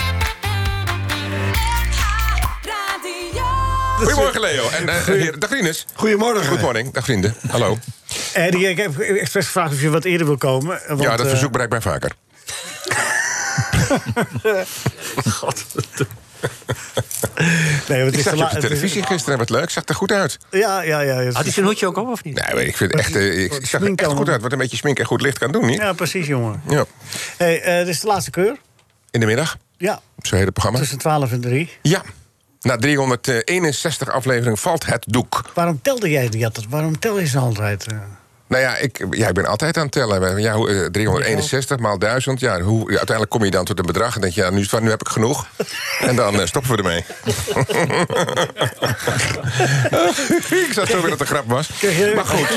[SPEAKER 8] Goedemorgen Leo. En, eh, heer- dag Rinus.
[SPEAKER 4] Goedemorgen.
[SPEAKER 8] Goedemorgen. Dag vrienden. Hallo.
[SPEAKER 3] Eddie, Eh, ik heb expres gevraagd of je wat eerder wil komen. eh, Want,
[SPEAKER 8] ja, dat
[SPEAKER 3] eh,
[SPEAKER 8] verzoek bereikt mij vaker.
[SPEAKER 3] Nee, want het
[SPEAKER 8] Ik
[SPEAKER 3] is
[SPEAKER 8] zag
[SPEAKER 3] te
[SPEAKER 8] je
[SPEAKER 3] laat.
[SPEAKER 8] op de
[SPEAKER 3] het is-
[SPEAKER 8] televisie gisteren. Wat leuk. Zag er goed uit.
[SPEAKER 3] Ja, ja, ja. het is-
[SPEAKER 5] Had hij zijn hoedje ook op of niet?
[SPEAKER 8] Nee, maar ik vind het echt... eh, ik zag er
[SPEAKER 3] smink
[SPEAKER 8] echt goed
[SPEAKER 3] allemaal.
[SPEAKER 8] uit. Wat een beetje smink en goed licht kan doen, niet?
[SPEAKER 3] Ja, precies, jongen.
[SPEAKER 8] Ja.
[SPEAKER 3] Hey, eh, dit is de laatste keur.
[SPEAKER 8] In de middag.
[SPEAKER 3] Ja,
[SPEAKER 8] Zo heet het programma.
[SPEAKER 3] tussen 12 en 3.
[SPEAKER 8] Ja. Na 361 afleveringen valt het doek.
[SPEAKER 3] Waarom telde jij die altijd? Waarom tel je ze altijd? eh?
[SPEAKER 8] Nou ja ik, ja, ik ben altijd aan het tellen. Ja, hoe, eh, 361 maal 1000. Ja, hoe, ja, uiteindelijk kom je dan tot een bedrag en denk je, ja, nu, is het- nu heb ik genoeg. en dan eh, stoppen we ermee. ik zag zo weer dat het een grap was. Maar goed.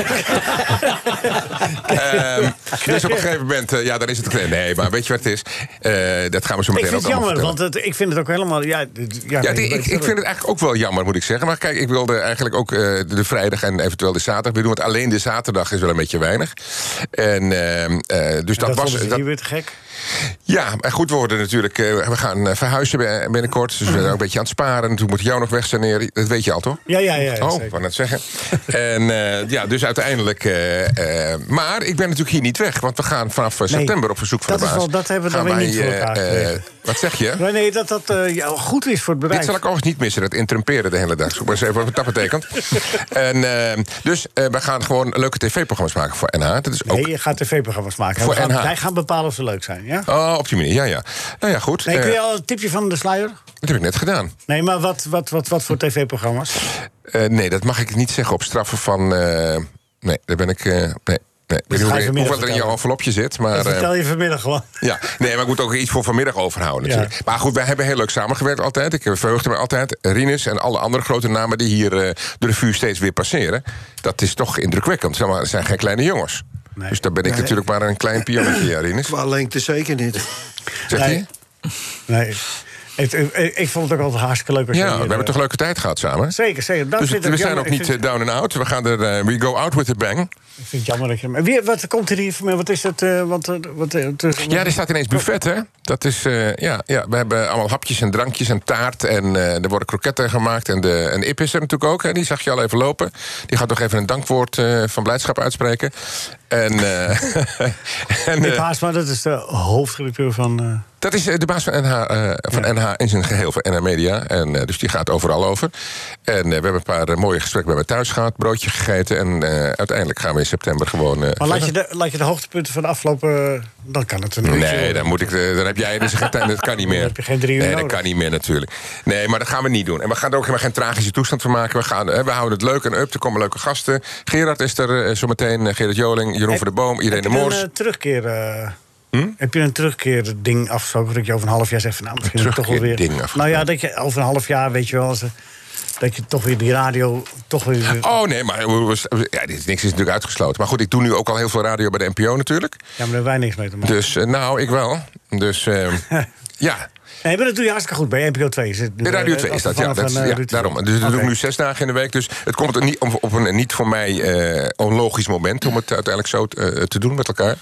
[SPEAKER 8] Ehm, dus op een gegeven moment, eh, ja, dan is het... Nee, maar weet je wat het is? Eh, dat gaan we zo
[SPEAKER 3] Ik
[SPEAKER 8] meteen
[SPEAKER 3] vind
[SPEAKER 8] ook
[SPEAKER 3] het
[SPEAKER 8] allemaal
[SPEAKER 3] jammer,
[SPEAKER 8] vertellen.
[SPEAKER 3] want het, ik vind het ook helemaal... Ja, dit- ja,
[SPEAKER 8] Ja,
[SPEAKER 3] nee,
[SPEAKER 8] die- ik,
[SPEAKER 3] weet
[SPEAKER 8] ik vind het eigenlijk ook wel jammer, moet ik zeggen. Maar kijk, ik wilde eigenlijk ook eh, de- de vrijdag en eventueel de zaterdag weer doen. Want alleen de zaterdag is wel een beetje weinig. En, ehm, eh, dus dat,
[SPEAKER 3] dat
[SPEAKER 8] was.
[SPEAKER 3] vonden ze
[SPEAKER 8] dat-
[SPEAKER 3] hier weer te gek.
[SPEAKER 8] ja, maar goed, we worden natuurlijk. eh, we gaan eh, verhuizen ben- binnenkort. Dus we zijn ook een beetje aan het sparen. Toen moet ik jou nog wegsaneren. Dat weet je al, toch?
[SPEAKER 3] Ja, ja, ja. ja,
[SPEAKER 8] Oh,
[SPEAKER 3] zeker.
[SPEAKER 8] ik wou net zeggen. En eh, ja, dus uiteindelijk. eh, eh, maar ik ben natuurlijk hier niet weg, want we gaan vanaf eh,
[SPEAKER 3] Nee,
[SPEAKER 8] september op verzoek van
[SPEAKER 3] dat
[SPEAKER 8] de
[SPEAKER 3] is
[SPEAKER 8] baas.
[SPEAKER 3] wel- dat hebben we
[SPEAKER 8] gaan
[SPEAKER 3] dan weer niet
[SPEAKER 8] wij,
[SPEAKER 3] voor
[SPEAKER 8] eh,
[SPEAKER 3] elkaar
[SPEAKER 8] eh,
[SPEAKER 3] gekregen.
[SPEAKER 8] Wat zeg je?
[SPEAKER 3] Nee, nee, dat dat eh, ja, goed is voor het bedrijf.
[SPEAKER 8] Dit zal ik overigens niet missen, dat interrumperen de hele dag. Zoek maar eens even wat dat betekent. en, eh, dus eh, we gaan gewoon leuke tv-programma's maken voor NH. Dat is ook...
[SPEAKER 3] Nee, je gaat tv-programma's maken.
[SPEAKER 8] Voor
[SPEAKER 3] We gaan-
[SPEAKER 8] NH.
[SPEAKER 3] wij gaan bepalen of ze leuk zijn, ja?
[SPEAKER 8] Oh, op die manier, ja, ja. Nou ja, goed.
[SPEAKER 3] eh. Nee,
[SPEAKER 8] eh,
[SPEAKER 3] kun je al een tipje van de sluier?
[SPEAKER 8] Dat heb ik net gedaan.
[SPEAKER 3] Nee, maar wat, wat, wat, wat voor tv-programma's?
[SPEAKER 8] Eh, nee, dat mag ik niet zeggen op straffen van... eh, nee, daar ben ik... eh, nee. Nee, ik weet
[SPEAKER 3] ga je
[SPEAKER 8] niet hoe-
[SPEAKER 3] vanmiddag
[SPEAKER 8] hoeveel er in jouw
[SPEAKER 3] vertellen.
[SPEAKER 8] envelopje zit, maar...
[SPEAKER 3] Dat
[SPEAKER 8] eh,
[SPEAKER 3] vertel je vanmiddag gewoon.
[SPEAKER 8] Ja, nee, maar ik moet ook iets voor vanmiddag overhouden natuurlijk.
[SPEAKER 3] Ja.
[SPEAKER 8] Maar goed, wij hebben heel leuk samengewerkt altijd. Ik verheugde me altijd. Rinus en alle andere grote namen die hier eh, de revue steeds weer passeren. Dat is toch indrukwekkend. Zeg maar, het zijn geen kleine jongens.
[SPEAKER 3] Nee.
[SPEAKER 8] Dus daar ben ik natuurlijk maar een klein pionnetje, ja, Rinus.
[SPEAKER 4] Qua lengte zeker niet.
[SPEAKER 8] Zegt
[SPEAKER 3] Nee.
[SPEAKER 8] hij?
[SPEAKER 3] Nee, het, ik, ik vond het ook altijd hartstikke leuk. Als
[SPEAKER 8] Ja,
[SPEAKER 3] jullie,
[SPEAKER 8] we
[SPEAKER 3] eh,
[SPEAKER 8] hebben toch leuke tijd gehad samen?
[SPEAKER 3] Zeker, zeker. Dat
[SPEAKER 8] Dus
[SPEAKER 3] vind
[SPEAKER 8] het- we
[SPEAKER 3] ik
[SPEAKER 8] zijn
[SPEAKER 3] jammer.
[SPEAKER 8] ook niet
[SPEAKER 3] Ik vind,
[SPEAKER 8] eh, down and out. We gaan er, eh, we go out with a bang.
[SPEAKER 3] ik vind het jammer dat je... Maar Wie, wat komt er hier van mij? Wat is dat? eh, wat, eh, wat, eh, het is-
[SPEAKER 8] Ja, er staat ineens buffet, hè? Dat is, eh, ja, ja, we hebben allemaal hapjes en drankjes en taart. En eh, er worden kroketten gemaakt. En, de, en Ip is er natuurlijk ook, hè? Die zag je al even lopen. Die gaat nog even een dankwoord eh, van blijdschap uitspreken. En, eh, en
[SPEAKER 3] Pip
[SPEAKER 8] eh,
[SPEAKER 3] Haasma, dat is de hoofdredacteur van... eh,
[SPEAKER 8] dat is eh, de baas van NH, eh, van NH in zijn geheel, van NH Media. En, eh, dus die gaat overal over. En eh, we hebben een paar eh, mooie gesprekken bij me thuis gehad. Broodje gegeten. En eh, uiteindelijk gaan we in september gewoon... eh,
[SPEAKER 3] maar laat je, de, laat je de hoogtepunten van de afgelopen... eh, dan kan het een
[SPEAKER 8] Nee, dan, moet ik, eh, dan heb jij dus geen tijd. Dat kan niet meer.
[SPEAKER 3] heb je geen drie uur
[SPEAKER 8] Nee, dat
[SPEAKER 3] nodig.
[SPEAKER 8] kan niet meer natuurlijk. Nee, maar dat gaan we niet doen. En we gaan er ook helemaal geen tragische toestand van maken. We, gaan, hè, we houden het leuk en up. Er komen leuke gasten. Gerard is er eh, zometeen. eh, Gerard Joling, Jeroen van der Boom,
[SPEAKER 3] Heb
[SPEAKER 8] Irene
[SPEAKER 3] je een
[SPEAKER 8] Moors. Hm?
[SPEAKER 3] eh, terugkeer... eh, Heb je een terugkeer ding afgesproken dat je over een half jaar zegt van nou misschien toch wel weer.
[SPEAKER 8] terugkeerding
[SPEAKER 3] nou ja,
[SPEAKER 8] afgesproken.
[SPEAKER 3] dat je over een half jaar weet je wel als, eh, dat je toch weer die radio toch weer.
[SPEAKER 8] Oh nee, maar we- we- we- ja, dit, is- niks is natuurlijk uitgesloten. Maar goed, ik doe nu ook al heel veel radio bij de NPO natuurlijk.
[SPEAKER 3] Ja, maar daar hebben wij niks mee te maken.
[SPEAKER 8] Dus eh, nou, ik wel. Dus eh, ja.
[SPEAKER 3] Nee, maar dat doe je hartstikke goed bij NPO 2. Is het,
[SPEAKER 8] Nee, Radio
[SPEAKER 3] eh,
[SPEAKER 8] 2 is dat, ja.
[SPEAKER 3] afgevangen
[SPEAKER 8] dat
[SPEAKER 3] van, eh,
[SPEAKER 8] ja,
[SPEAKER 3] Ruud.
[SPEAKER 8] daarom. Dus dat doe
[SPEAKER 3] Oké.
[SPEAKER 8] ik nu zes dagen in de week. Dus het komt er niet op, op een niet voor mij eh, onlogisch moment... om het uiteindelijk zo eh, te doen met elkaar.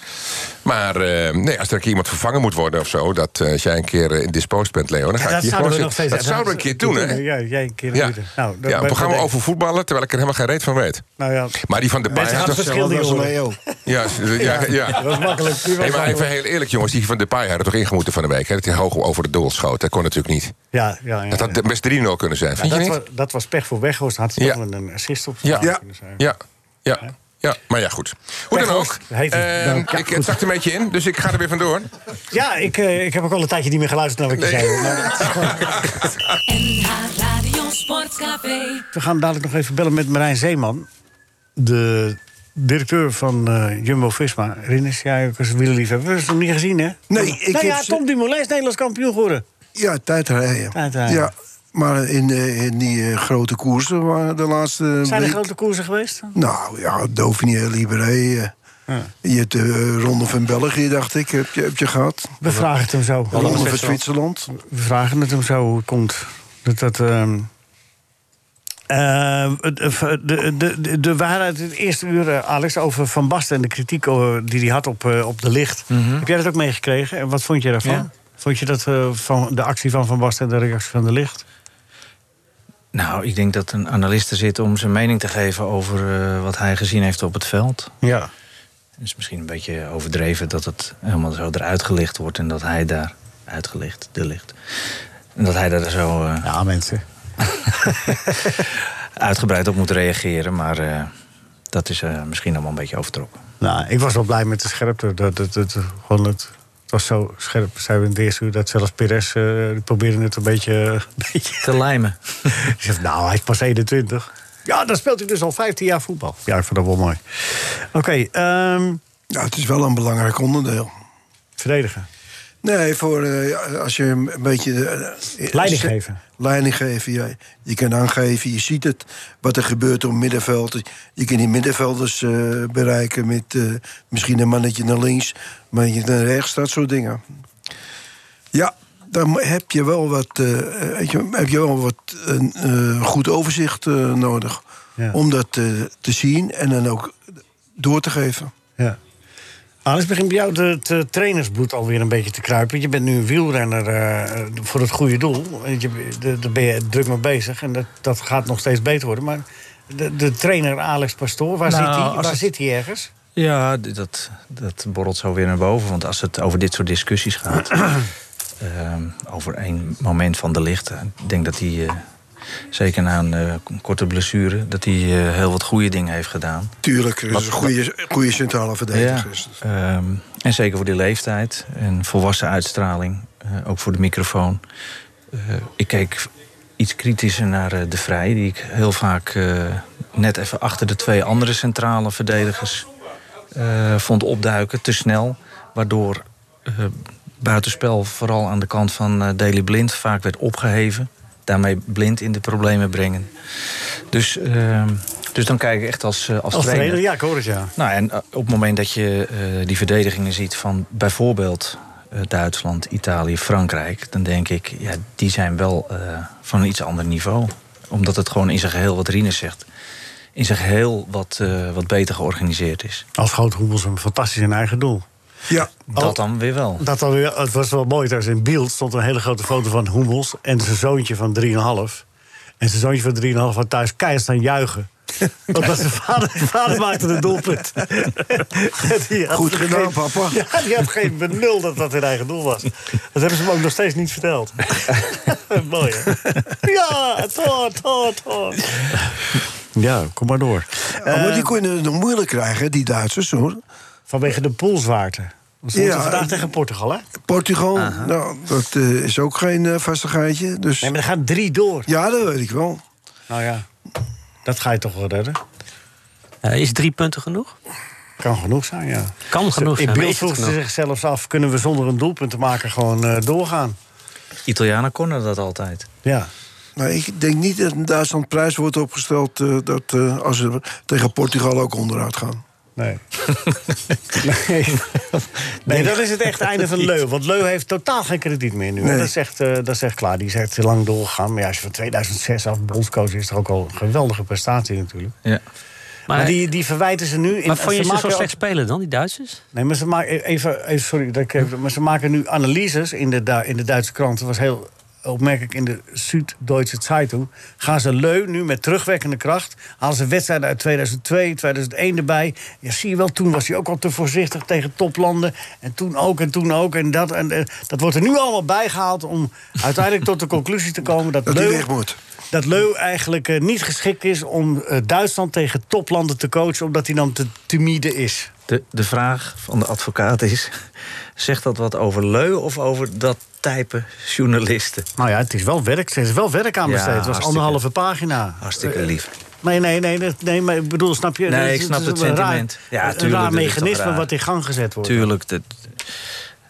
[SPEAKER 8] Maar eh, nee, als er een keer iemand vervangen moet worden of zo... dat eh, als jij een keer eh, indisposed bent, Leo, dan ga ik
[SPEAKER 3] dat
[SPEAKER 8] hier gewoon
[SPEAKER 3] zouden we nog
[SPEAKER 8] zitten.
[SPEAKER 3] steeds
[SPEAKER 8] Dat zouden we een keer doen, hè?
[SPEAKER 3] Ja, jij een keer
[SPEAKER 8] Ja,
[SPEAKER 3] doen. Nou, dat-
[SPEAKER 8] ja we
[SPEAKER 3] dat-
[SPEAKER 8] gaan
[SPEAKER 3] dat-
[SPEAKER 8] over voetballen, terwijl ik er helemaal geen reet van weet.
[SPEAKER 3] Nou ja,
[SPEAKER 8] Maar die van de
[SPEAKER 3] mensen
[SPEAKER 8] Depay...
[SPEAKER 3] gaan het
[SPEAKER 8] had toch-
[SPEAKER 3] verschil niet
[SPEAKER 4] Dat is
[SPEAKER 3] horen.
[SPEAKER 4] Leo.
[SPEAKER 8] Ja, ja, ja.
[SPEAKER 3] Dat was makkelijk. die was
[SPEAKER 8] Hey, maar
[SPEAKER 3] makkelijk.
[SPEAKER 8] even heel eerlijk, jongens. Die van Depay hadden toch ingemoeten van de week, hè? Dat hij hoog over de doel schoot. Dat kon natuurlijk niet.
[SPEAKER 3] Ja, ja, ja.
[SPEAKER 8] Dat had
[SPEAKER 3] ja.
[SPEAKER 8] best 3-0 kunnen zijn,
[SPEAKER 3] Ja,
[SPEAKER 8] vind je
[SPEAKER 3] dat,
[SPEAKER 8] niet?
[SPEAKER 3] was, dat was pech voor Weghorst. Had hij
[SPEAKER 8] Ja.
[SPEAKER 3] toch wel een assist op
[SPEAKER 8] Ja.
[SPEAKER 3] kunnen zijn. dus, eh.
[SPEAKER 8] Ja, ja, ja. Maar ja, goed. Hoe dan
[SPEAKER 3] Weghorst
[SPEAKER 8] ook.
[SPEAKER 3] heet hij.
[SPEAKER 8] ehm,
[SPEAKER 3] Ja,
[SPEAKER 8] ik
[SPEAKER 3] goed.
[SPEAKER 8] zakt er een beetje in, dus ik ga er weer vandoor.
[SPEAKER 3] Ja, ik, eh, ik heb ook al een tijdje niet meer geluisterd naar wat je
[SPEAKER 8] Nee.
[SPEAKER 3] zei. maar het is gewoon-
[SPEAKER 1] NH Radio Sportcafé.
[SPEAKER 3] we gaan dadelijk nog even bellen met Marijn Zeeman. De directeur van eh, Jumbo-Visma. Rinus, jij ook als wielerliefhebber. Dat is nog niet gezien, hè?
[SPEAKER 4] Nee, ik
[SPEAKER 3] nou
[SPEAKER 4] heb
[SPEAKER 3] ja,
[SPEAKER 4] ze-
[SPEAKER 3] Tom Dumoulin is Nederlands kampioen geworden.
[SPEAKER 4] Ja, tijdrijden.
[SPEAKER 3] Tijdrijden.
[SPEAKER 4] Ja, maar in, eh, in die eh, grote koersen waren de laatste
[SPEAKER 3] Zijn er
[SPEAKER 4] week-
[SPEAKER 3] grote koersen geweest?
[SPEAKER 4] Nou ja, Dauphiné, Libéré. eh, Je hebt de eh, Ronde van België, dacht ik, heb je, heb je gehad.
[SPEAKER 3] We vragen het hem zo.
[SPEAKER 4] De Ronde van Zwitserland.
[SPEAKER 3] We vragen het hem zo hoe het komt. Dat dat. ehm, eh, het- eh, de, de, de, de waarheid, het eerste uur, eh, Alex, over Van Basten en de kritiek eh, die hij had op, eh, op de licht. Heb jij dat ook meegekregen? En wat vond je daarvan?
[SPEAKER 6] Ja.
[SPEAKER 3] Vond je dat eh, van de actie van Van Basten en de reactie van de licht?
[SPEAKER 6] Nou, ik denk dat een analist er zit om zijn mening te geven over eh, wat hij gezien heeft op het veld.
[SPEAKER 3] Ja.
[SPEAKER 6] Het is misschien een beetje overdreven dat het helemaal zo eruit gelicht wordt en dat hij daar uitgelicht, de licht. En dat hij daar zo eh,
[SPEAKER 3] Ja, mensen.
[SPEAKER 6] uitgebreid op moet reageren, maar eh, dat is eh, misschien allemaal een beetje overtrokken.
[SPEAKER 3] Nou, ik was wel blij met de scherpte. Dat, dat, dat, gewoon het, het was zo scherp, zeiden we in het eerste uur, dat zelfs Perez eh, die probeerde het een eh, beetje... Een beetje
[SPEAKER 6] Te lijmen.
[SPEAKER 3] Ik zeg, nou, hij is pas 21. Ja, dan speelt hij dus al 15 jaar voetbal. Ja, ik vind dat wel mooi. Oké, ehm,
[SPEAKER 4] Ja, het is wel een belangrijk onderdeel.
[SPEAKER 3] verdedigen.
[SPEAKER 4] Nee, voor, eh, als je een beetje... eh,
[SPEAKER 3] Leiding geven.
[SPEAKER 4] Leiding geven, ja. Je kan aangeven, je ziet het, wat er gebeurt op middenveld. Je kan die middenvelders eh, bereiken met eh, misschien een mannetje naar links... maar je naar rechts, dat soort dingen. Ja, daar mo- heb je wel wat, eh, weet je, heb je wel wat een eh, goed overzicht eh, nodig...
[SPEAKER 3] Ja.
[SPEAKER 4] om dat eh, te zien en dan ook door te geven.
[SPEAKER 3] Ja. Alice, begint bij jou de- het eh, trainersbloed alweer een beetje te kruipen. Je bent nu een wielrenner eh, voor het goede doel. Eh, je- de- Daar ben je druk mee bezig en dat, dat gaat nog steeds beter worden. Maar de, de trainer Alex Pastoor, waar,
[SPEAKER 6] Nou,
[SPEAKER 3] zit, hij,
[SPEAKER 6] als
[SPEAKER 3] waar
[SPEAKER 6] het-
[SPEAKER 3] zit hij ergens?
[SPEAKER 6] Ja, d- dat, dat borrelt zo weer naar boven. Want als het over dit soort discussies gaat. ehm, over één moment van de licht. eh, Ik denk dat hij, eh, zeker na een eh, k- korte blessure. dat hij eh, heel wat goede dingen heeft gedaan.
[SPEAKER 4] Tuurlijk, er is een goede, goede centrale verdediger. is het.
[SPEAKER 6] ehm, en zeker voor die leeftijd. En volwassen uitstraling. eh, ook voor de microfoon. Eh, ik keek iets kritischer naar eh, De Vrij. Die ik heel vaak eh, net even achter de twee andere centrale verdedigers eh, vond opduiken. Te snel. Waardoor eh, buitenspel vooral aan de kant van eh Daley Blind vaak werd opgeheven. Daarmee blind in de problemen brengen. Dus, ehm, dus dan kijk ik echt als, eh, als,
[SPEAKER 3] Als
[SPEAKER 6] trainer.
[SPEAKER 3] trainer, ja, ik hoor het ja.
[SPEAKER 6] Nou, en eh, op het moment dat je eh, die verdedigingen ziet van bijvoorbeeld eh, Duitsland, Italië, Frankrijk, dan denk ik, ja, die zijn wel eh, van een iets ander niveau. Omdat het gewoon in zijn geheel, wat Rienes zegt, in zijn geheel wat, eh, wat beter georganiseerd is.
[SPEAKER 3] Als groot hoebels een fantastisch in eigen doel.
[SPEAKER 4] Ja,
[SPEAKER 3] Oh.
[SPEAKER 6] Dat dan weer wel.
[SPEAKER 3] Dat dan weer, het was wel mooi trouwens. In beeld stond een hele grote foto van Hummels en zijn zoontje van 3,5. En zijn zoontje van 3,5 had thuis keihard staan juichen. Want dat zijn vader, vader maakte het doelpunt. Die had
[SPEAKER 4] Goed
[SPEAKER 3] geen-
[SPEAKER 4] gedaan, papa.
[SPEAKER 3] Ja, die had geen benul dat dat hun eigen doel was. Dat hebben ze hem ook nog steeds niet verteld. mooi, hè? Ja, toor, toor, toor. Ja, kom maar door.
[SPEAKER 4] Ja, maar die kunnen het nog moeilijk krijgen, die Duitsers hoor.
[SPEAKER 3] Vanwege de poolswaarte. Ze moeten
[SPEAKER 4] Ja,
[SPEAKER 3] vandaag
[SPEAKER 4] eh,
[SPEAKER 3] tegen Portugal, hè?
[SPEAKER 4] Portugal, nou, dat eh, is ook geen eh, vastigheidje. Dus
[SPEAKER 3] Nee, maar er gaan drie door.
[SPEAKER 4] ja, dat weet ik wel.
[SPEAKER 3] Nou ja, dat ga je toch wel redden.
[SPEAKER 5] Eh, is drie punten genoeg?
[SPEAKER 3] Kan genoeg zijn, ja.
[SPEAKER 5] Kan genoeg zijn.
[SPEAKER 3] In
[SPEAKER 5] maar
[SPEAKER 3] beeld
[SPEAKER 5] is het
[SPEAKER 3] vroeg ze
[SPEAKER 5] genoeg?
[SPEAKER 3] zichzelf af... kunnen we zonder een doelpunt te maken gewoon eh, doorgaan?
[SPEAKER 6] Italianen konden dat altijd.
[SPEAKER 3] Ja.
[SPEAKER 4] Nou, ik denk niet dat in Duitsland prijs wordt opgesteld eh, dat eh, als ze tegen Portugal ook onderuit gaan.
[SPEAKER 3] Nee. nee. nee, dat is het echt einde van Leu. Want Leu heeft totaal geen krediet meer nu.
[SPEAKER 4] Nee.
[SPEAKER 3] Dat, is echt, eh, dat is echt klaar. Die is echt lang doorgegaan. Maar ja, als je van 2006 af bondscoach is... is toch ook al een geweldige prestatie natuurlijk.
[SPEAKER 6] Ja.
[SPEAKER 5] Maar,
[SPEAKER 3] Maar die, die verwijten ze nu... In,
[SPEAKER 5] maar vond je ze zo
[SPEAKER 3] maken
[SPEAKER 5] slecht spelen dan, die Duitsers?
[SPEAKER 3] Nee, maar ze maken, even, even- sorry, dat ik even- maar ze maken nu analyses in de, Du- in de Duitse kranten. Dat was heel opmerkelijk in de Süddeutsche Zeitung. Gaan ze leu nu met terugwekkende kracht. Halen ze wedstrijden uit 2002, 2001 erbij. Ja, zie je wel, toen was hij ook al te voorzichtig tegen toplanden. En toen ook, en toen ook, en dat. En, eh, dat wordt er nu allemaal bijgehaald om uiteindelijk tot de conclusie te komen... dat,
[SPEAKER 4] Dat
[SPEAKER 3] leu,
[SPEAKER 4] die weg moet.
[SPEAKER 3] dat Leu eigenlijk eh, niet geschikt is om eh, Duitsland tegen toplanden te coachen... omdat hij dan te timide is.
[SPEAKER 6] De, de vraag van de advocaat is: zegt dat wat over Leu of over dat type journalisten?
[SPEAKER 3] Nou ja, het is wel werk. Er is wel werk aan
[SPEAKER 6] Ja,
[SPEAKER 3] besteed. het was
[SPEAKER 6] hartstikke.
[SPEAKER 3] anderhalve pagina.
[SPEAKER 6] Hartstikke
[SPEAKER 3] Eh,
[SPEAKER 6] lief.
[SPEAKER 3] Nee, nee, nee, nee, nee, maar ik bedoel, snap je?
[SPEAKER 6] Nee,
[SPEAKER 3] Het is-
[SPEAKER 6] ik snap
[SPEAKER 3] is
[SPEAKER 6] het
[SPEAKER 3] een
[SPEAKER 6] sentiment.
[SPEAKER 3] Raar,
[SPEAKER 6] Ja,
[SPEAKER 3] ja, een
[SPEAKER 6] tuurlijk,
[SPEAKER 3] raar
[SPEAKER 6] dat is toch
[SPEAKER 3] mechanisme
[SPEAKER 6] raar.
[SPEAKER 3] wat in gang gezet wordt.
[SPEAKER 6] Tuurlijk, dat,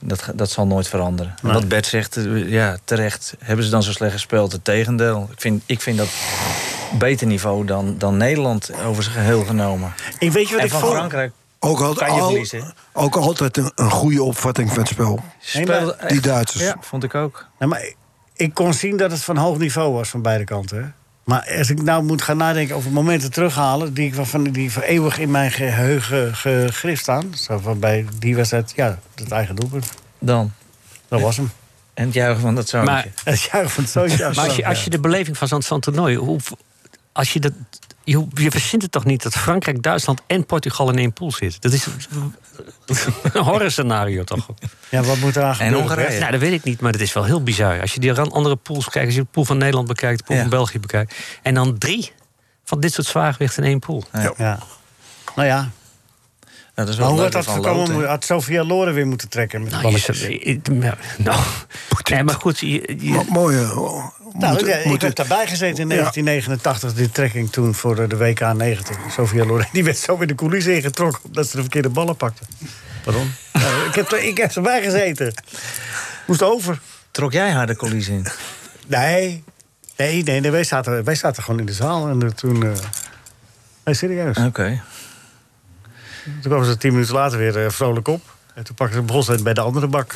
[SPEAKER 6] dat, ga- dat zal nooit veranderen. En
[SPEAKER 3] Nee.
[SPEAKER 6] Wat Bert zegt, eh, ja, terecht. Hebben ze dan zo slecht gespeeld? Het tegendeel. Ik vind, ik vind dat beter niveau dan, dan Nederland over zijn geheel genomen.
[SPEAKER 3] Ik weet je wat
[SPEAKER 6] En
[SPEAKER 3] ik
[SPEAKER 6] van
[SPEAKER 3] vond?
[SPEAKER 6] Frankrijk
[SPEAKER 4] Ook, al,
[SPEAKER 6] kan je
[SPEAKER 4] al-
[SPEAKER 6] verliezen.
[SPEAKER 4] ook altijd een, een goede opvatting van het spel.
[SPEAKER 6] Speelde
[SPEAKER 3] maar-
[SPEAKER 6] echt-
[SPEAKER 4] Die Duitsers.
[SPEAKER 6] Ja, vond ik ook.
[SPEAKER 3] Nou, maar ik- ik kon zien dat het van hoog niveau was van beide kanten. hè. Maar als ik nou moet gaan nadenken over momenten terughalen... die, ik, waarvan, die voor eeuwig in mijn geheugen gegrift staan... Zo van bij die wedstrijd, ja, het eigen doelpunt.
[SPEAKER 6] Dan.
[SPEAKER 3] Dat was hem.
[SPEAKER 6] En het juichen van dat zoontje.
[SPEAKER 5] Maar-
[SPEAKER 3] Het juichen van het zoontje.
[SPEAKER 5] Maar als je, als je de beleving van zo'n zo'n toernooi... Hoe, als je, dat, je, hoe- je verzint het toch niet dat Frankrijk, Duitsland en Portugal in één pool zitten? Dat is een horror scenario toch?
[SPEAKER 3] Ja, wat moet er aan gebeuren?
[SPEAKER 6] Hongarije.
[SPEAKER 3] hè?
[SPEAKER 5] Nou, dat weet ik niet, maar dat is wel heel bizar. Als je die ran- andere pools kijkt, als je de pool van Nederland bekijkt... de pool
[SPEAKER 6] Ja.
[SPEAKER 5] van België bekijkt... en Nou, dan drie van dit soort zwaargewichten in één pool.
[SPEAKER 3] Ja. Nou ja,
[SPEAKER 6] dat is wel
[SPEAKER 3] Maar hoe had
[SPEAKER 6] leuk
[SPEAKER 3] dat
[SPEAKER 6] van
[SPEAKER 3] gekomen?
[SPEAKER 6] Loten.
[SPEAKER 3] Had Sofia Loren weer moeten trekken met de
[SPEAKER 5] Nou, je
[SPEAKER 3] balletjes?
[SPEAKER 5] zegt, ik- nou, nou. Nee, maar goed, je, je-
[SPEAKER 4] Mo- mooi. eh, oh,
[SPEAKER 3] Nou,
[SPEAKER 4] moeten-
[SPEAKER 3] ja, ik
[SPEAKER 4] moeten-
[SPEAKER 3] heb daarbij gezeten in 1989, die trekking toen voor eh, de WK90. Sofia Loren, die werd zo in de coulissen ingetrokken... omdat ze de verkeerde ballen pakte. Pardon? Nou, ik, heb, er- ik heb erbij gezeten. Moest over.
[SPEAKER 6] Trok jij haar de coulissen in?
[SPEAKER 3] Nee, nee, nee, nee, wij, zaten, wij zaten gewoon in de zaal. En eh, toen... eh nee, serieus.
[SPEAKER 6] Oké.
[SPEAKER 3] Toen kwamen ze tien minuten later weer eh, vrolijk op. En toen pakten ze begon ze bij de andere bak.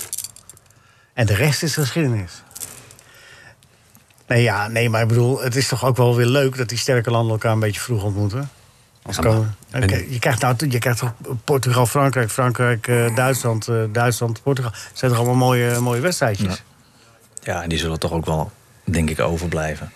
[SPEAKER 3] En de rest is geschiedenis. Nee, ja, nee, maar ik bedoel, het is toch ook wel weer leuk dat die sterke landen elkaar een beetje vroeg ontmoeten. Als komen. Oké, je krijgt nou, je krijgt toch Portugal, Frankrijk, Frankrijk, eh, Duitsland, eh, Duitsland, Portugal. Het zijn toch allemaal mooie, mooie wedstrijdjes.
[SPEAKER 6] Ja, en die zullen toch ook wel, denk ik, overblijven.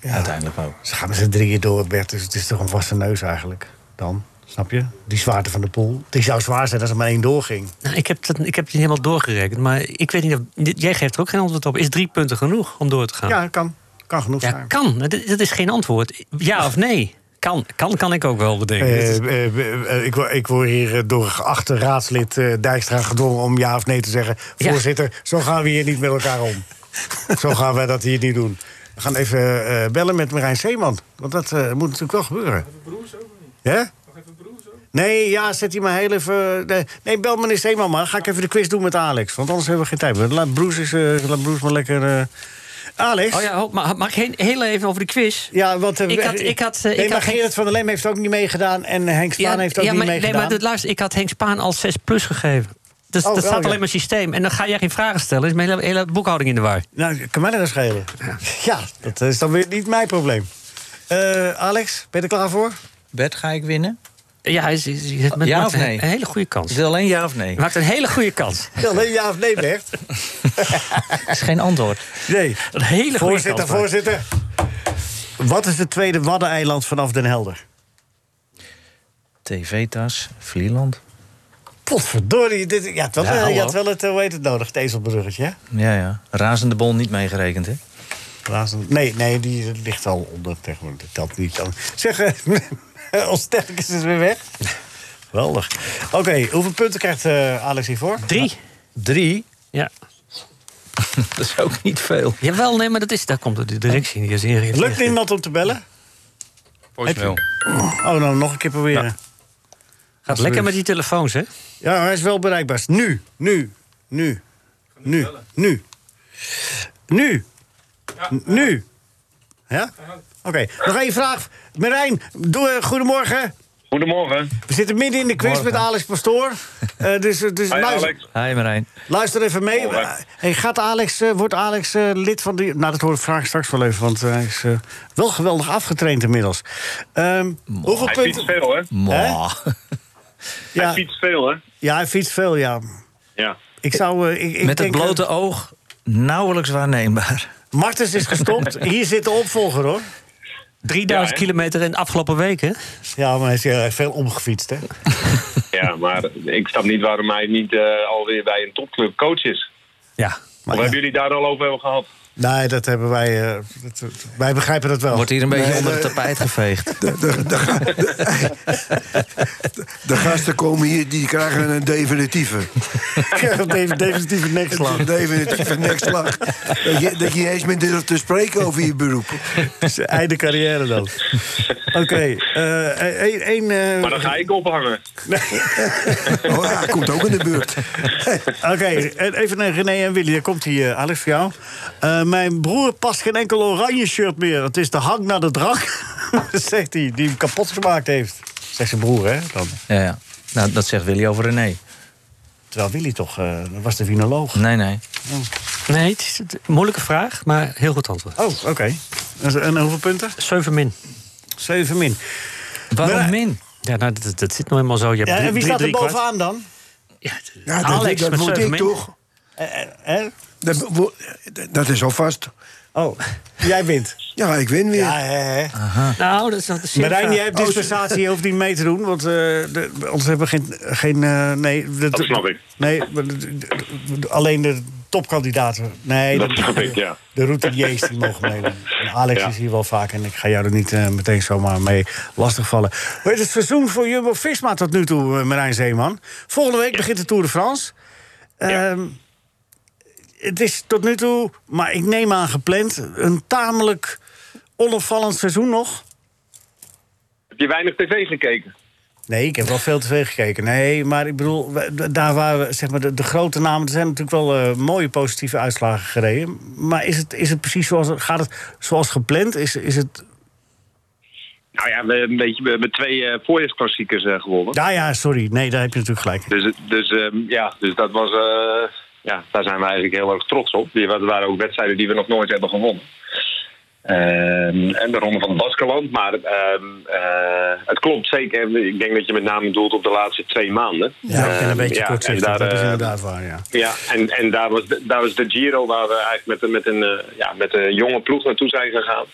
[SPEAKER 6] Uiteindelijk ook.
[SPEAKER 3] Ze gaan met z'n drieën door, Bert, dus het is toch een wassen neus eigenlijk. Dan, snap je? Die zwaarte van de pool. Die zou zwaar zijn als er maar één doorging.
[SPEAKER 5] nou, ik, heb dat, ik heb het niet helemaal doorgerekend. Maar ik weet niet of, dit- jij geeft er ook geen antwoord op. Is drie punten genoeg om door te gaan?
[SPEAKER 3] Ja, kan. Kan genoeg
[SPEAKER 5] Ja,
[SPEAKER 3] zijn.
[SPEAKER 5] kan. Dat, dat is geen antwoord. Ja of nee? Kan, kan, kan ik ook wel bedenken.
[SPEAKER 3] Eh,
[SPEAKER 5] Dit is-
[SPEAKER 3] eh, eh, ik, wo- ik word hier eh, door geachte raadslid eh, Dijkstra gedwongen om ja of nee te zeggen.
[SPEAKER 5] Ja.
[SPEAKER 3] Voorzitter, zo gaan we hier niet met elkaar om. zo gaan wij dat hier niet doen. We gaan even eh, bellen met Marijn Zeeman. Want dat eh, moet natuurlijk wel gebeuren. Nog even broers ook niet? Ja? Nog even broers ook? Nee, ja, zet hij maar heel even... Nee, nee, bel meneer Zeeman maar. Ga ik even de quiz doen met Alex. Want anders hebben we geen tijd. meer. Laat Broes, is, eh, laat Broes maar lekker... eh, Alex?
[SPEAKER 5] Oh ja, ho- maar mag ik heen- heel even over de quiz?
[SPEAKER 3] Ja, want eh,
[SPEAKER 5] Ik
[SPEAKER 3] we-
[SPEAKER 5] had- ik had, eh,
[SPEAKER 3] nee,
[SPEAKER 5] ik
[SPEAKER 3] maar
[SPEAKER 5] had geen-
[SPEAKER 3] Gerard van der Leem heeft ook niet meegedaan en Henk Spaan heeft ook
[SPEAKER 5] ja,
[SPEAKER 3] niet
[SPEAKER 5] maar, nee,
[SPEAKER 3] meegedaan.
[SPEAKER 5] maar dat- luister, ik had Henk Spaan al 6 plus gegeven. Dus
[SPEAKER 3] Oh,
[SPEAKER 5] dat
[SPEAKER 3] oh,
[SPEAKER 5] staat
[SPEAKER 3] ja.
[SPEAKER 5] alleen maar systeem. En dan ga jij geen vragen stellen. Is mijn hele, hele boekhouding in de war.
[SPEAKER 3] Nou, kan mij dat schelen. Ja, dat is dan weer niet mijn probleem. Eh, Alex, ben je er klaar voor?
[SPEAKER 6] Bert, ga ik winnen?
[SPEAKER 5] Ja, hij is, hij is- hij maakt
[SPEAKER 6] Ja of
[SPEAKER 5] een-
[SPEAKER 6] nee?
[SPEAKER 5] Een hele goede kans.
[SPEAKER 6] Is het alleen ja of nee?
[SPEAKER 5] Hij maakt een hele goede kans.
[SPEAKER 3] Ja, nee, ja of nee, Bert?
[SPEAKER 6] Dat is geen antwoord.
[SPEAKER 3] Nee.
[SPEAKER 5] Een hele goede
[SPEAKER 3] Voorzitter,
[SPEAKER 5] kans.
[SPEAKER 3] voorzitter. Wat is het tweede Waddeneiland vanaf Den Helder?
[SPEAKER 6] TV-tas, Vlieland.
[SPEAKER 3] Potverdorie, dit, je, had wel,
[SPEAKER 5] Ja,
[SPEAKER 3] eh, je
[SPEAKER 5] hallo.
[SPEAKER 3] had wel het, eh, hoe heet het nodig, het ezelbruggetje, hè?
[SPEAKER 6] Ja, ja. Razende bol niet meegerekend, hè?
[SPEAKER 3] Razend- Nee, nee, die ligt al onder tegenwoordig. Dat telt niet. Dan. Zeg, eh, ons sterk is dus weer weg. Geweldig. Oké, hoeveel punten krijgt eh, Alex hiervoor?
[SPEAKER 5] Drie.
[SPEAKER 6] Drie?
[SPEAKER 5] Ja.
[SPEAKER 6] Dat is ook niet veel.
[SPEAKER 5] Jawel, nee, maar dat is, daar komt de directie in. Die is ingereageerd.
[SPEAKER 3] Lukt niemand om te bellen?
[SPEAKER 9] Voicemail.
[SPEAKER 3] Oh, nou, nog een keer proberen.
[SPEAKER 5] Gaat lekker met die telefoons, hè?
[SPEAKER 3] Ja, hij is wel bereikbaar. Nu, nu, nu, nu, nu. Nu. N- Nu. Ja? Oké, nog één vraag. Merijn, doe, eh, goedemorgen.
[SPEAKER 10] Goedemorgen.
[SPEAKER 3] We zitten midden in de quiz met Alex Pastoor. Eh, dus dus
[SPEAKER 10] Hi
[SPEAKER 3] luister,
[SPEAKER 10] Alex.
[SPEAKER 6] Hi Marijn.
[SPEAKER 3] luister even mee.
[SPEAKER 10] Morgen.
[SPEAKER 3] Eh, hey, gaat Alex, eh, wordt Alex eh, lid van de... Nou, dat hoor ik vraag straks wel even, want hij is eh, wel geweldig afgetraind inmiddels. Ehm, hoeveel
[SPEAKER 10] Hij fietst
[SPEAKER 3] punten...
[SPEAKER 10] veel, hè?
[SPEAKER 6] Mwah.
[SPEAKER 10] Hij
[SPEAKER 3] Ja,
[SPEAKER 10] fietst veel, hè?
[SPEAKER 3] ja, hij fietst veel, ja.
[SPEAKER 10] Ja.
[SPEAKER 3] Ik zou... eh, ik, ik
[SPEAKER 6] Met het
[SPEAKER 3] denk, eh,
[SPEAKER 6] blote oog nauwelijks waarneembaar.
[SPEAKER 3] Martens is gestopt. Hier zit de opvolger, hoor.
[SPEAKER 5] 3000
[SPEAKER 10] Ja, hè?
[SPEAKER 5] kilometer in de afgelopen weken.
[SPEAKER 3] Ja, maar hij is heel erg veel omgefietst, hè?
[SPEAKER 10] ja, maar ik snap niet waarom hij niet eh, alweer bij een topclub coach is.
[SPEAKER 5] Ja.
[SPEAKER 10] of hebben jullie daar al over gehad?
[SPEAKER 3] Nee, dat hebben wij... eh, dat- dat- wij begrijpen dat wel.
[SPEAKER 6] Wordt hier een beetje
[SPEAKER 4] Nee,
[SPEAKER 6] onder
[SPEAKER 4] nee.
[SPEAKER 6] het tapijt geveegd.
[SPEAKER 4] De, de, de, ga- de- de gasten komen hier, die krijgen een definitieve.
[SPEAKER 3] Even definitieve nekslag.
[SPEAKER 4] Een definitieve nekslag. Dat je, dat je niet eens meer durft te spreken over je beroep.
[SPEAKER 3] Zijn Einde carrière dan. Oké, eh één... één, eh,
[SPEAKER 10] Maar dan ga ik ophangen.
[SPEAKER 4] Oh ja, komt ook in de buurt.
[SPEAKER 3] Oké, even naar René en Willy. Daar komt hij, eh, Alex, voor jou. Eh, mijn broer past geen enkel oranje shirt meer. Het is de hang naar de drank, zegt hij, die hem kapot gemaakt heeft. Zegt zijn broer, hè? Dan.
[SPEAKER 6] Ja, ja. Nou, dat zegt Willy over René.
[SPEAKER 3] Terwijl Willy toch eh, was de vinoloog.
[SPEAKER 6] Nee, nee.
[SPEAKER 5] Nee, het is een moeilijke vraag, maar heel goed antwoord.
[SPEAKER 3] Oh, oké. En, en hoeveel punten?
[SPEAKER 5] 7 min.
[SPEAKER 3] Zeven min.
[SPEAKER 6] Waarom
[SPEAKER 3] Maar-
[SPEAKER 6] Oh, min?
[SPEAKER 5] Ja, nou, dat, dat zit nou helemaal zo. Je hebt
[SPEAKER 3] Ja,
[SPEAKER 5] drie-
[SPEAKER 3] en wie
[SPEAKER 5] drie-
[SPEAKER 3] staat er
[SPEAKER 5] drie kwart.
[SPEAKER 3] bovenaan dan?
[SPEAKER 5] Ja,
[SPEAKER 4] Ja, dat,
[SPEAKER 5] Alex
[SPEAKER 4] dat
[SPEAKER 5] met
[SPEAKER 4] moet
[SPEAKER 5] zeven
[SPEAKER 4] ik
[SPEAKER 5] min.
[SPEAKER 4] toch?
[SPEAKER 3] Eh, Hè?
[SPEAKER 4] Dat, wo- dat is alvast.
[SPEAKER 3] Oh, jij wint.
[SPEAKER 4] Ja, ik win weer.
[SPEAKER 3] Ja, hè, hè.
[SPEAKER 5] Nou, dat is dat is zeer
[SPEAKER 3] Marijn,
[SPEAKER 5] vaag.
[SPEAKER 3] jij hebt dispensatie, je hoeft niet mee te doen. Want eh, de, anders hebben we geen... geen eh, nee,
[SPEAKER 10] Dat snap ik.
[SPEAKER 3] Nee, maar de- de- de- alleen de topkandidaten. Nee,
[SPEAKER 7] Dat
[SPEAKER 3] de-
[SPEAKER 7] snap ik, ja.
[SPEAKER 3] De routiniers die mogen meedoen. En Alex
[SPEAKER 7] Ja.
[SPEAKER 3] is hier wel vaak en ik ga jou er niet eh, meteen zomaar mee lastigvallen. Hoe is het seizoen voor Jumbo-Visma tot nu toe, eh, Marijn Zeeman? Volgende week begint de Tour de France. Ehm, het is tot nu toe, maar ik neem aan gepland, een tamelijk onopvallend seizoen nog.
[SPEAKER 7] Heb je weinig tv gekeken?
[SPEAKER 3] Nee, ik heb wel veel tv gekeken. Nee, maar ik bedoel, we- daar waar we, zeg maar, de, de grote namen... er zijn natuurlijk wel eh, mooie positieve uitslagen gereden. Maar is het, is het precies zoals, gaat het zoals gepland? Is, is het,
[SPEAKER 7] Nou ja, we hebben een beetje we hebben twee eh, voorjaarsklassiekers eh, gewonnen.
[SPEAKER 3] ja, ja, sorry. Nee, daar heb je natuurlijk gelijk.
[SPEAKER 7] Dus, het- dus, ehm, ja, dus dat was, eh, ja, daar zijn we eigenlijk heel erg trots op. Die- Dat waren ook wedstrijden die we nog nooit hebben gewonnen. Ehm, en de Ronde van het Baskeland. Maar ehm, eh, het klopt zeker. Ik denk dat je met name doelt op de laatste twee maanden.
[SPEAKER 3] Ja, ik ben een
[SPEAKER 7] Ehm,
[SPEAKER 3] beetje
[SPEAKER 7] ja,
[SPEAKER 3] kortzichtig.
[SPEAKER 7] en daar,
[SPEAKER 3] dat is
[SPEAKER 7] eh,
[SPEAKER 3] inderdaad waar, ja.
[SPEAKER 7] Ja, en, en daar, was de, daar was de Giro waar we eigenlijk met, een- met, een, eh, ja, met een jonge ploeg naartoe zijn gegaan.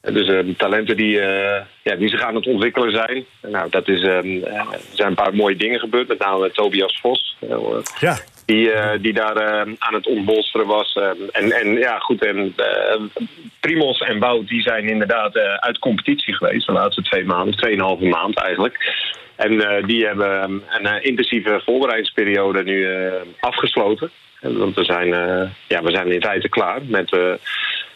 [SPEAKER 7] En Dus eh, talenten die, eh, ja, die zich aan het ontwikkelen zijn. Nou, dat is, ehm, eh, er zijn een paar mooie dingen gebeurd, met name Tobias Vos. eh,
[SPEAKER 3] Ja,
[SPEAKER 7] die, eh, die daar eh, aan het ontbolsteren was. Eh, en, en ja, goed, en, eh, Primos en Wout die zijn inderdaad eh, uit competitie geweest de laatste twee maanden, tweeënhalve maand eigenlijk. En eh, die hebben eh, een eh, intensieve voorbereidingsperiode nu eh, afgesloten. Eh, Want we zijn, eh, ja, we zijn in feite klaar met, eh,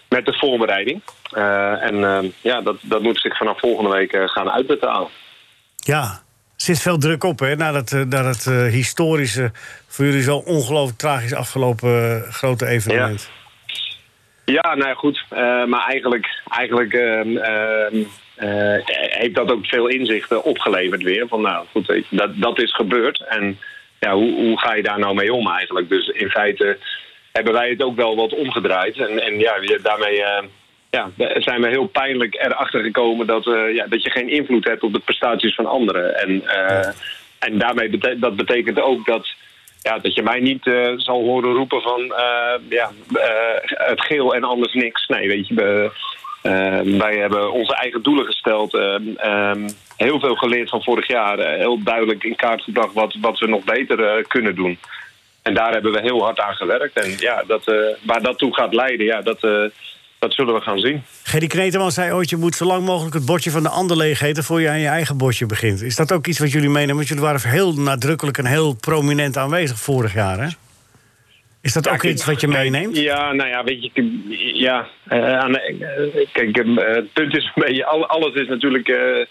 [SPEAKER 7] met de voorbereiding. Eh, en eh, ja, dat, dat moet zich vanaf volgende week eh, gaan uitbetalen.
[SPEAKER 3] ja. Er zit veel druk op, hè, na dat, eh, na dat eh, historische... voor jullie zo ongelooflijk tragisch afgelopen eh, grote evenement.
[SPEAKER 7] Ja, nou ja, goed. Eh, maar eigenlijk, eigenlijk ehm, ehm, eh, heeft dat ook veel inzichten opgeleverd weer. Van nou, goed, weet je, dat, dat is gebeurd. En ja, hoe, hoe ga je daar nou mee om eigenlijk? Dus in feite hebben wij het ook wel wat omgedraaid. En, en ja, je- daarmee eh, ja, zijn we heel pijnlijk erachter gekomen dat, eh, ja, dat je geen invloed hebt op de prestaties van anderen. En, eh, en daarmee bete- dat betekent ook dat ja, dat je mij niet eh, zal horen roepen van eh, ja, eh, het geel en anders niks. Nee, weet je, we, eh, wij hebben onze eigen doelen gesteld. ehm, ehm, heel veel geleerd van vorig jaar. eh, heel duidelijk in kaart gebracht wat, wat we nog beter eh, kunnen doen. En daar hebben we heel hard aan gewerkt. En ja, dat, eh, waar dat toe gaat leiden, ja, dat, eh, dat zullen we gaan zien.
[SPEAKER 3] Gerry Kneteman zei ooit, je moet zo lang mogelijk het bordje van de ander leeg eten... voor je aan je eigen bordje begint. Is dat ook iets wat jullie meenemen? Want jullie waren heel nadrukkelijk en heel prominent aanwezig vorig jaar, hè? Is dat ook
[SPEAKER 7] kijk,
[SPEAKER 3] iets wat je meeneemt?
[SPEAKER 7] Ja, nou ja, weet je, ik- ja, eh, aan de- eh, kijk, eh, het punt is een beetje, al- alles is natuurlijk, eh,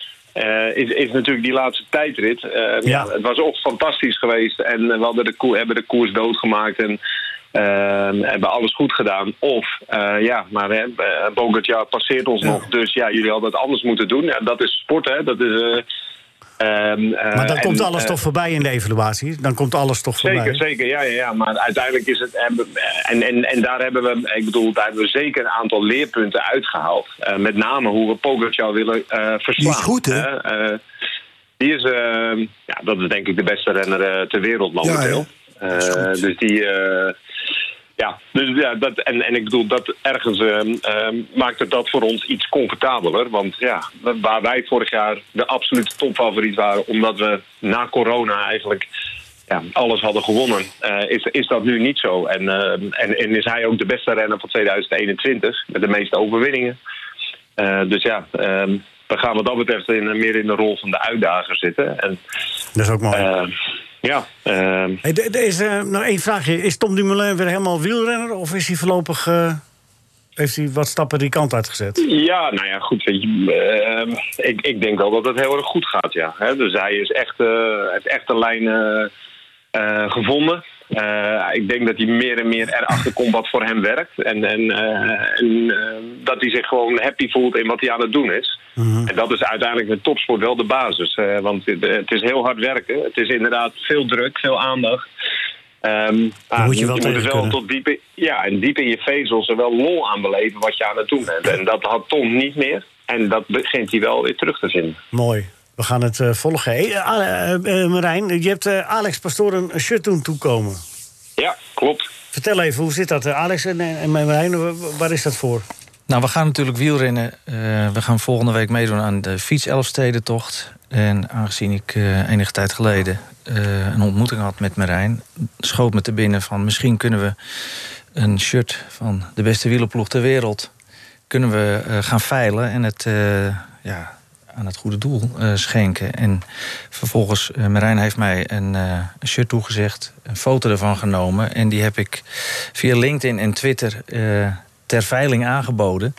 [SPEAKER 7] eh, is, is natuurlijk die laatste tijdrit. Eh,
[SPEAKER 3] Ja.
[SPEAKER 7] Het was ook fantastisch geweest en we hadden de koe, hebben de koers doodgemaakt en eh, hebben alles goed gedaan. Of, eh, ja, maar hè, eh, Pogacar passeert ons nog, dus ja, jullie hadden het anders moeten doen. Ja, dat is sport, hè, dat is... eh, ehm, eh,
[SPEAKER 3] Maar dan
[SPEAKER 7] en,
[SPEAKER 3] komt alles
[SPEAKER 7] eh,
[SPEAKER 3] toch voorbij in de evaluatie? Dan komt alles toch voorbij?
[SPEAKER 7] Zeker, zeker. Ja, ja, ja, maar uiteindelijk is het. En, en, en daar hebben we, ik bedoel, daar hebben we zeker een aantal leerpunten uitgehaald. Eh, met name hoe we Pogacar willen eh, verslaan.
[SPEAKER 4] Die is goed, hè?
[SPEAKER 7] Eh, eh, die is, eh, ja, dat is denk ik de beste renner eh, ter wereld momenteel. Eh, dus die. eh, ja, dus ja, dat, en, en ik bedoel, dat ergens ehm, ehm, maakt het dat voor ons iets comfortabeler. Want ja, waar wij vorig jaar de absolute topfavoriet waren, omdat we na corona eigenlijk ja, alles hadden gewonnen, eh, is, is dat nu niet zo. En, ehm, en, en is hij ook de beste renner van 2021, met de meeste overwinningen. Eh, dus ja, ehm, we gaan wat dat betreft in, meer in de rol van de uitdager zitten. En,
[SPEAKER 3] Dat is ook mooi.
[SPEAKER 7] ehm, ja, ehm,
[SPEAKER 3] Hey, d- d- is, eh, nog één vraagje. Is Tom Dumoulin weer helemaal wielrenner? Of is hij voorlopig... eh, heeft hij wat stappen die kant uitgezet?
[SPEAKER 7] Ja, nou ja, goed. Weet je, ehm, ik, ik denk wel dat het heel erg goed gaat, ja. Hè, dus hij is echt, eh heeft echt een lijn eh, eh, gevonden. Eh, ik denk dat hij meer en meer erachter komt wat voor hem werkt. En, en, eh, en eh, dat hij zich gewoon happy voelt in wat hij aan het doen is.
[SPEAKER 3] Mhm.
[SPEAKER 7] En dat is uiteindelijk met topsport wel de basis. eh, want het, het is heel hard werken. Het is inderdaad veel druk, veel aandacht. Ehm, maar
[SPEAKER 3] moet je wel
[SPEAKER 7] er
[SPEAKER 3] tegen
[SPEAKER 7] wel
[SPEAKER 3] kunnen.
[SPEAKER 7] tot diep in, ja, en diep in je vezels er wel lol aan beleven wat je aan het doen bent. En dat had Tom niet meer. En dat begint hij wel weer terug te vinden.
[SPEAKER 3] Mooi. We gaan het eh, volgen. Hey, eh, Ale- eh, eh, Marijn, je hebt eh, Alex Pastoor een shirt doen toekomen.
[SPEAKER 7] Ja, klopt.
[SPEAKER 3] eh, Vertel even, hoe zit dat? eh, Alex en, en en Marijn, wa- wa- waar is dat voor?
[SPEAKER 6] Nou, we gaan natuurlijk wielrennen. Eh, we gaan volgende week meedoen aan de fiets Elfstedentocht. En aangezien ik eh, enige tijd geleden eh, een ontmoeting had met Marijn... schoot me te binnen van misschien kunnen we een shirt van de beste wielerploeg ter wereld... kunnen we eh, gaan veilen en het eh, ja, aan het goede doel eh, schenken. En vervolgens, eh Marijn heeft mij een, eh, een shirt toegezegd, een foto ervan genomen... en die heb ik via LinkedIn en Twitter... eh, ter veiling aangeboden.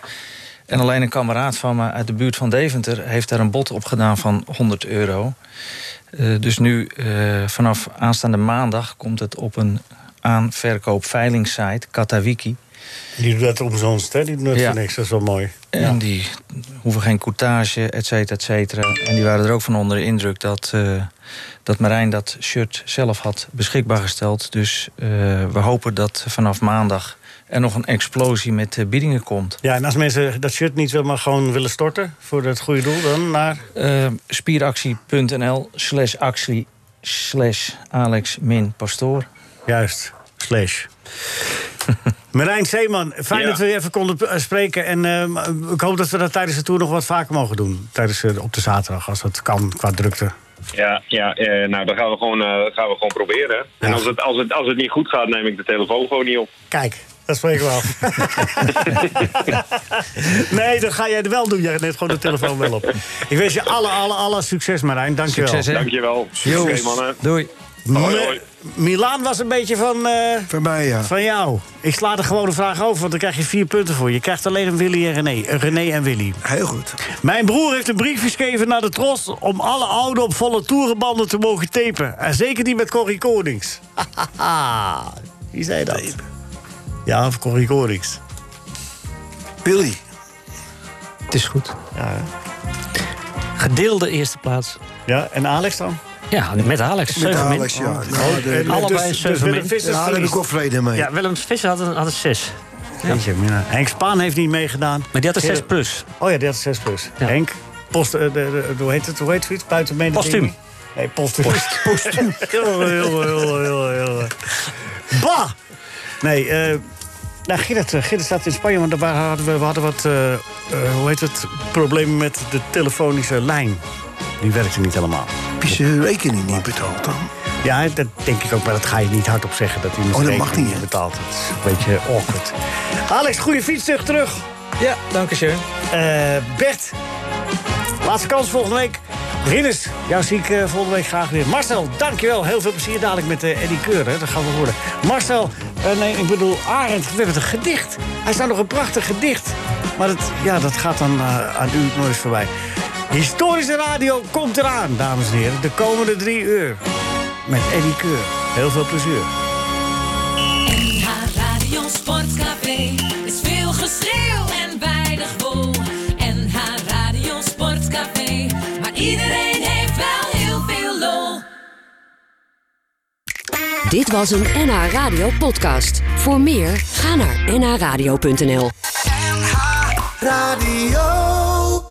[SPEAKER 6] En alleen een kameraad van me uit de buurt van Deventer heeft daar een bod op gedaan van 100 euro. Eh, dus nu, eh, vanaf aanstaande maandag, komt het op een aanverkoopveilingssite, Katawiki.
[SPEAKER 3] Die doet dat omsonst, hè? Die doet dat
[SPEAKER 6] Ja.
[SPEAKER 3] voor niks. Dat is wel mooi.
[SPEAKER 6] En die hoeven geen coutage, et cetera, et cetera. En die waren er ook van onder de indruk dat, eh, dat Marijn dat shirt zelf had beschikbaar gesteld. Dus eh, we hopen dat vanaf maandag er nog een explosie met eh, biedingen komt.
[SPEAKER 3] Ja, en als mensen dat shirt niet willen, maar gewoon willen storten voor het goede doel, dan naar...
[SPEAKER 6] Eh, spieractie.nl slash actie slash Alex min pastoor.
[SPEAKER 3] Juist, slash. Marijn Zeeman, fijn
[SPEAKER 6] Ja.
[SPEAKER 3] dat we je even konden eh, spreken. En ehm, ik hoop dat we dat tijdens de tour nog wat vaker mogen doen. Tijdens, eh, op de zaterdag, als dat kan, qua drukte.
[SPEAKER 10] Ja, ja eh, nou, dat gaan we gewoon, eh, dat gaan we gewoon proberen. En als het, als, het, als het niet goed gaat, neem ik de telefoon gewoon niet op.
[SPEAKER 3] Kijk, dat spreken we af. nee, dat ga jij wel doen. Jij neemt gewoon de telefoon wel op. Ik wens je alle, alle, alle succes, Marijn. Dankjewel.
[SPEAKER 10] Succes, hè? Dankjewel.
[SPEAKER 3] Jo.
[SPEAKER 10] Oké, mannen.
[SPEAKER 6] Doei.
[SPEAKER 10] Hoi, hoi.
[SPEAKER 3] Milaan was een beetje van... eh,
[SPEAKER 4] Van mij, ja.
[SPEAKER 3] Van jou. Ik sla er gewoon een vraag over, want dan krijg je vier punten voor. Je krijgt alleen een Willy en René. Een René en Willy.
[SPEAKER 4] Heel goed.
[SPEAKER 3] Mijn broer heeft een brief geschreven naar de Tros... om alle oude op volle toerenbanden te mogen tapen. En zeker die met Corrie Konings. Wie zei dat? Ja, of Corrie Konings.
[SPEAKER 4] Billy.
[SPEAKER 5] Het is goed.
[SPEAKER 3] Ja,
[SPEAKER 5] Gedeelde eerste plaats.
[SPEAKER 3] ja, en Alex dan?
[SPEAKER 5] Ja, met Alex.
[SPEAKER 4] Met
[SPEAKER 5] zeven min.
[SPEAKER 4] Alex, ja. Nou,
[SPEAKER 3] Oh,
[SPEAKER 4] de-
[SPEAKER 3] en
[SPEAKER 5] Allebei
[SPEAKER 3] dus-
[SPEAKER 5] zeven
[SPEAKER 3] dus Willem
[SPEAKER 5] min.
[SPEAKER 3] Vissers
[SPEAKER 4] ja, daar heb ik
[SPEAKER 3] verliest.
[SPEAKER 4] wel vrede mee.
[SPEAKER 5] Ja, Willem Visser had, een, had een zes.
[SPEAKER 3] Jeetje, mina. Henk Spaan heeft niet meegedaan.
[SPEAKER 5] Maar die had een
[SPEAKER 3] Gerrit-
[SPEAKER 5] 6 plus.
[SPEAKER 3] Oh ja, die had 6 plus.
[SPEAKER 5] Ja.
[SPEAKER 3] Henk, post, eh, de, de- hoe heet het? Hoe heet het? Buiten menen.
[SPEAKER 5] Postuum.
[SPEAKER 3] dingen. Nee, postuum. Post, postuum. heel, heel, heel, heel, heel. Bah! Nee, eh nou, Gerrit, eh, Gerrit staat in Spanje, want daar hadden we, we hadden wat, eh, eh, hoe heet het, problemen met de telefonische lijn. Die werkte niet helemaal.
[SPEAKER 4] Heb je zijn rekening niet betaald dan?
[SPEAKER 3] Ja, dat denk ik ook, maar dat ga je niet hardop zeggen. Dat hij nog
[SPEAKER 4] Oh, dat
[SPEAKER 3] steeds
[SPEAKER 4] mag niet, hè?
[SPEAKER 3] betaald. Dat is een beetje awkward. Alex, goede fietstug terug.
[SPEAKER 6] Ja, dankjewel.
[SPEAKER 3] Eh, Bert, laatste kans volgende week. Ridders, jou zie ik eh, volgende week graag weer. Marcel, dankjewel. Heel veel plezier dadelijk met eh Eddie Keur. Hè. Dat gaan we horen. Marcel, eh, nee, ik bedoel Arend. We hebben het een gedicht. Hij staat nog een prachtig gedicht. Maar dat, ja, dat gaat dan eh, aan u nooit voorbij. Historische radio komt eraan, dames en heren. De komende drie uur. Met Eddie Keur. Heel veel plezier.
[SPEAKER 1] NH Radio Sportcafé is veel geschreeuw en weinig wol. NH Radio Sportcafé, maar iedereen heeft wel heel veel lol.
[SPEAKER 11] Dit was een NH Radio podcast. Voor meer, ga naar nhradio.nl.
[SPEAKER 2] Radio.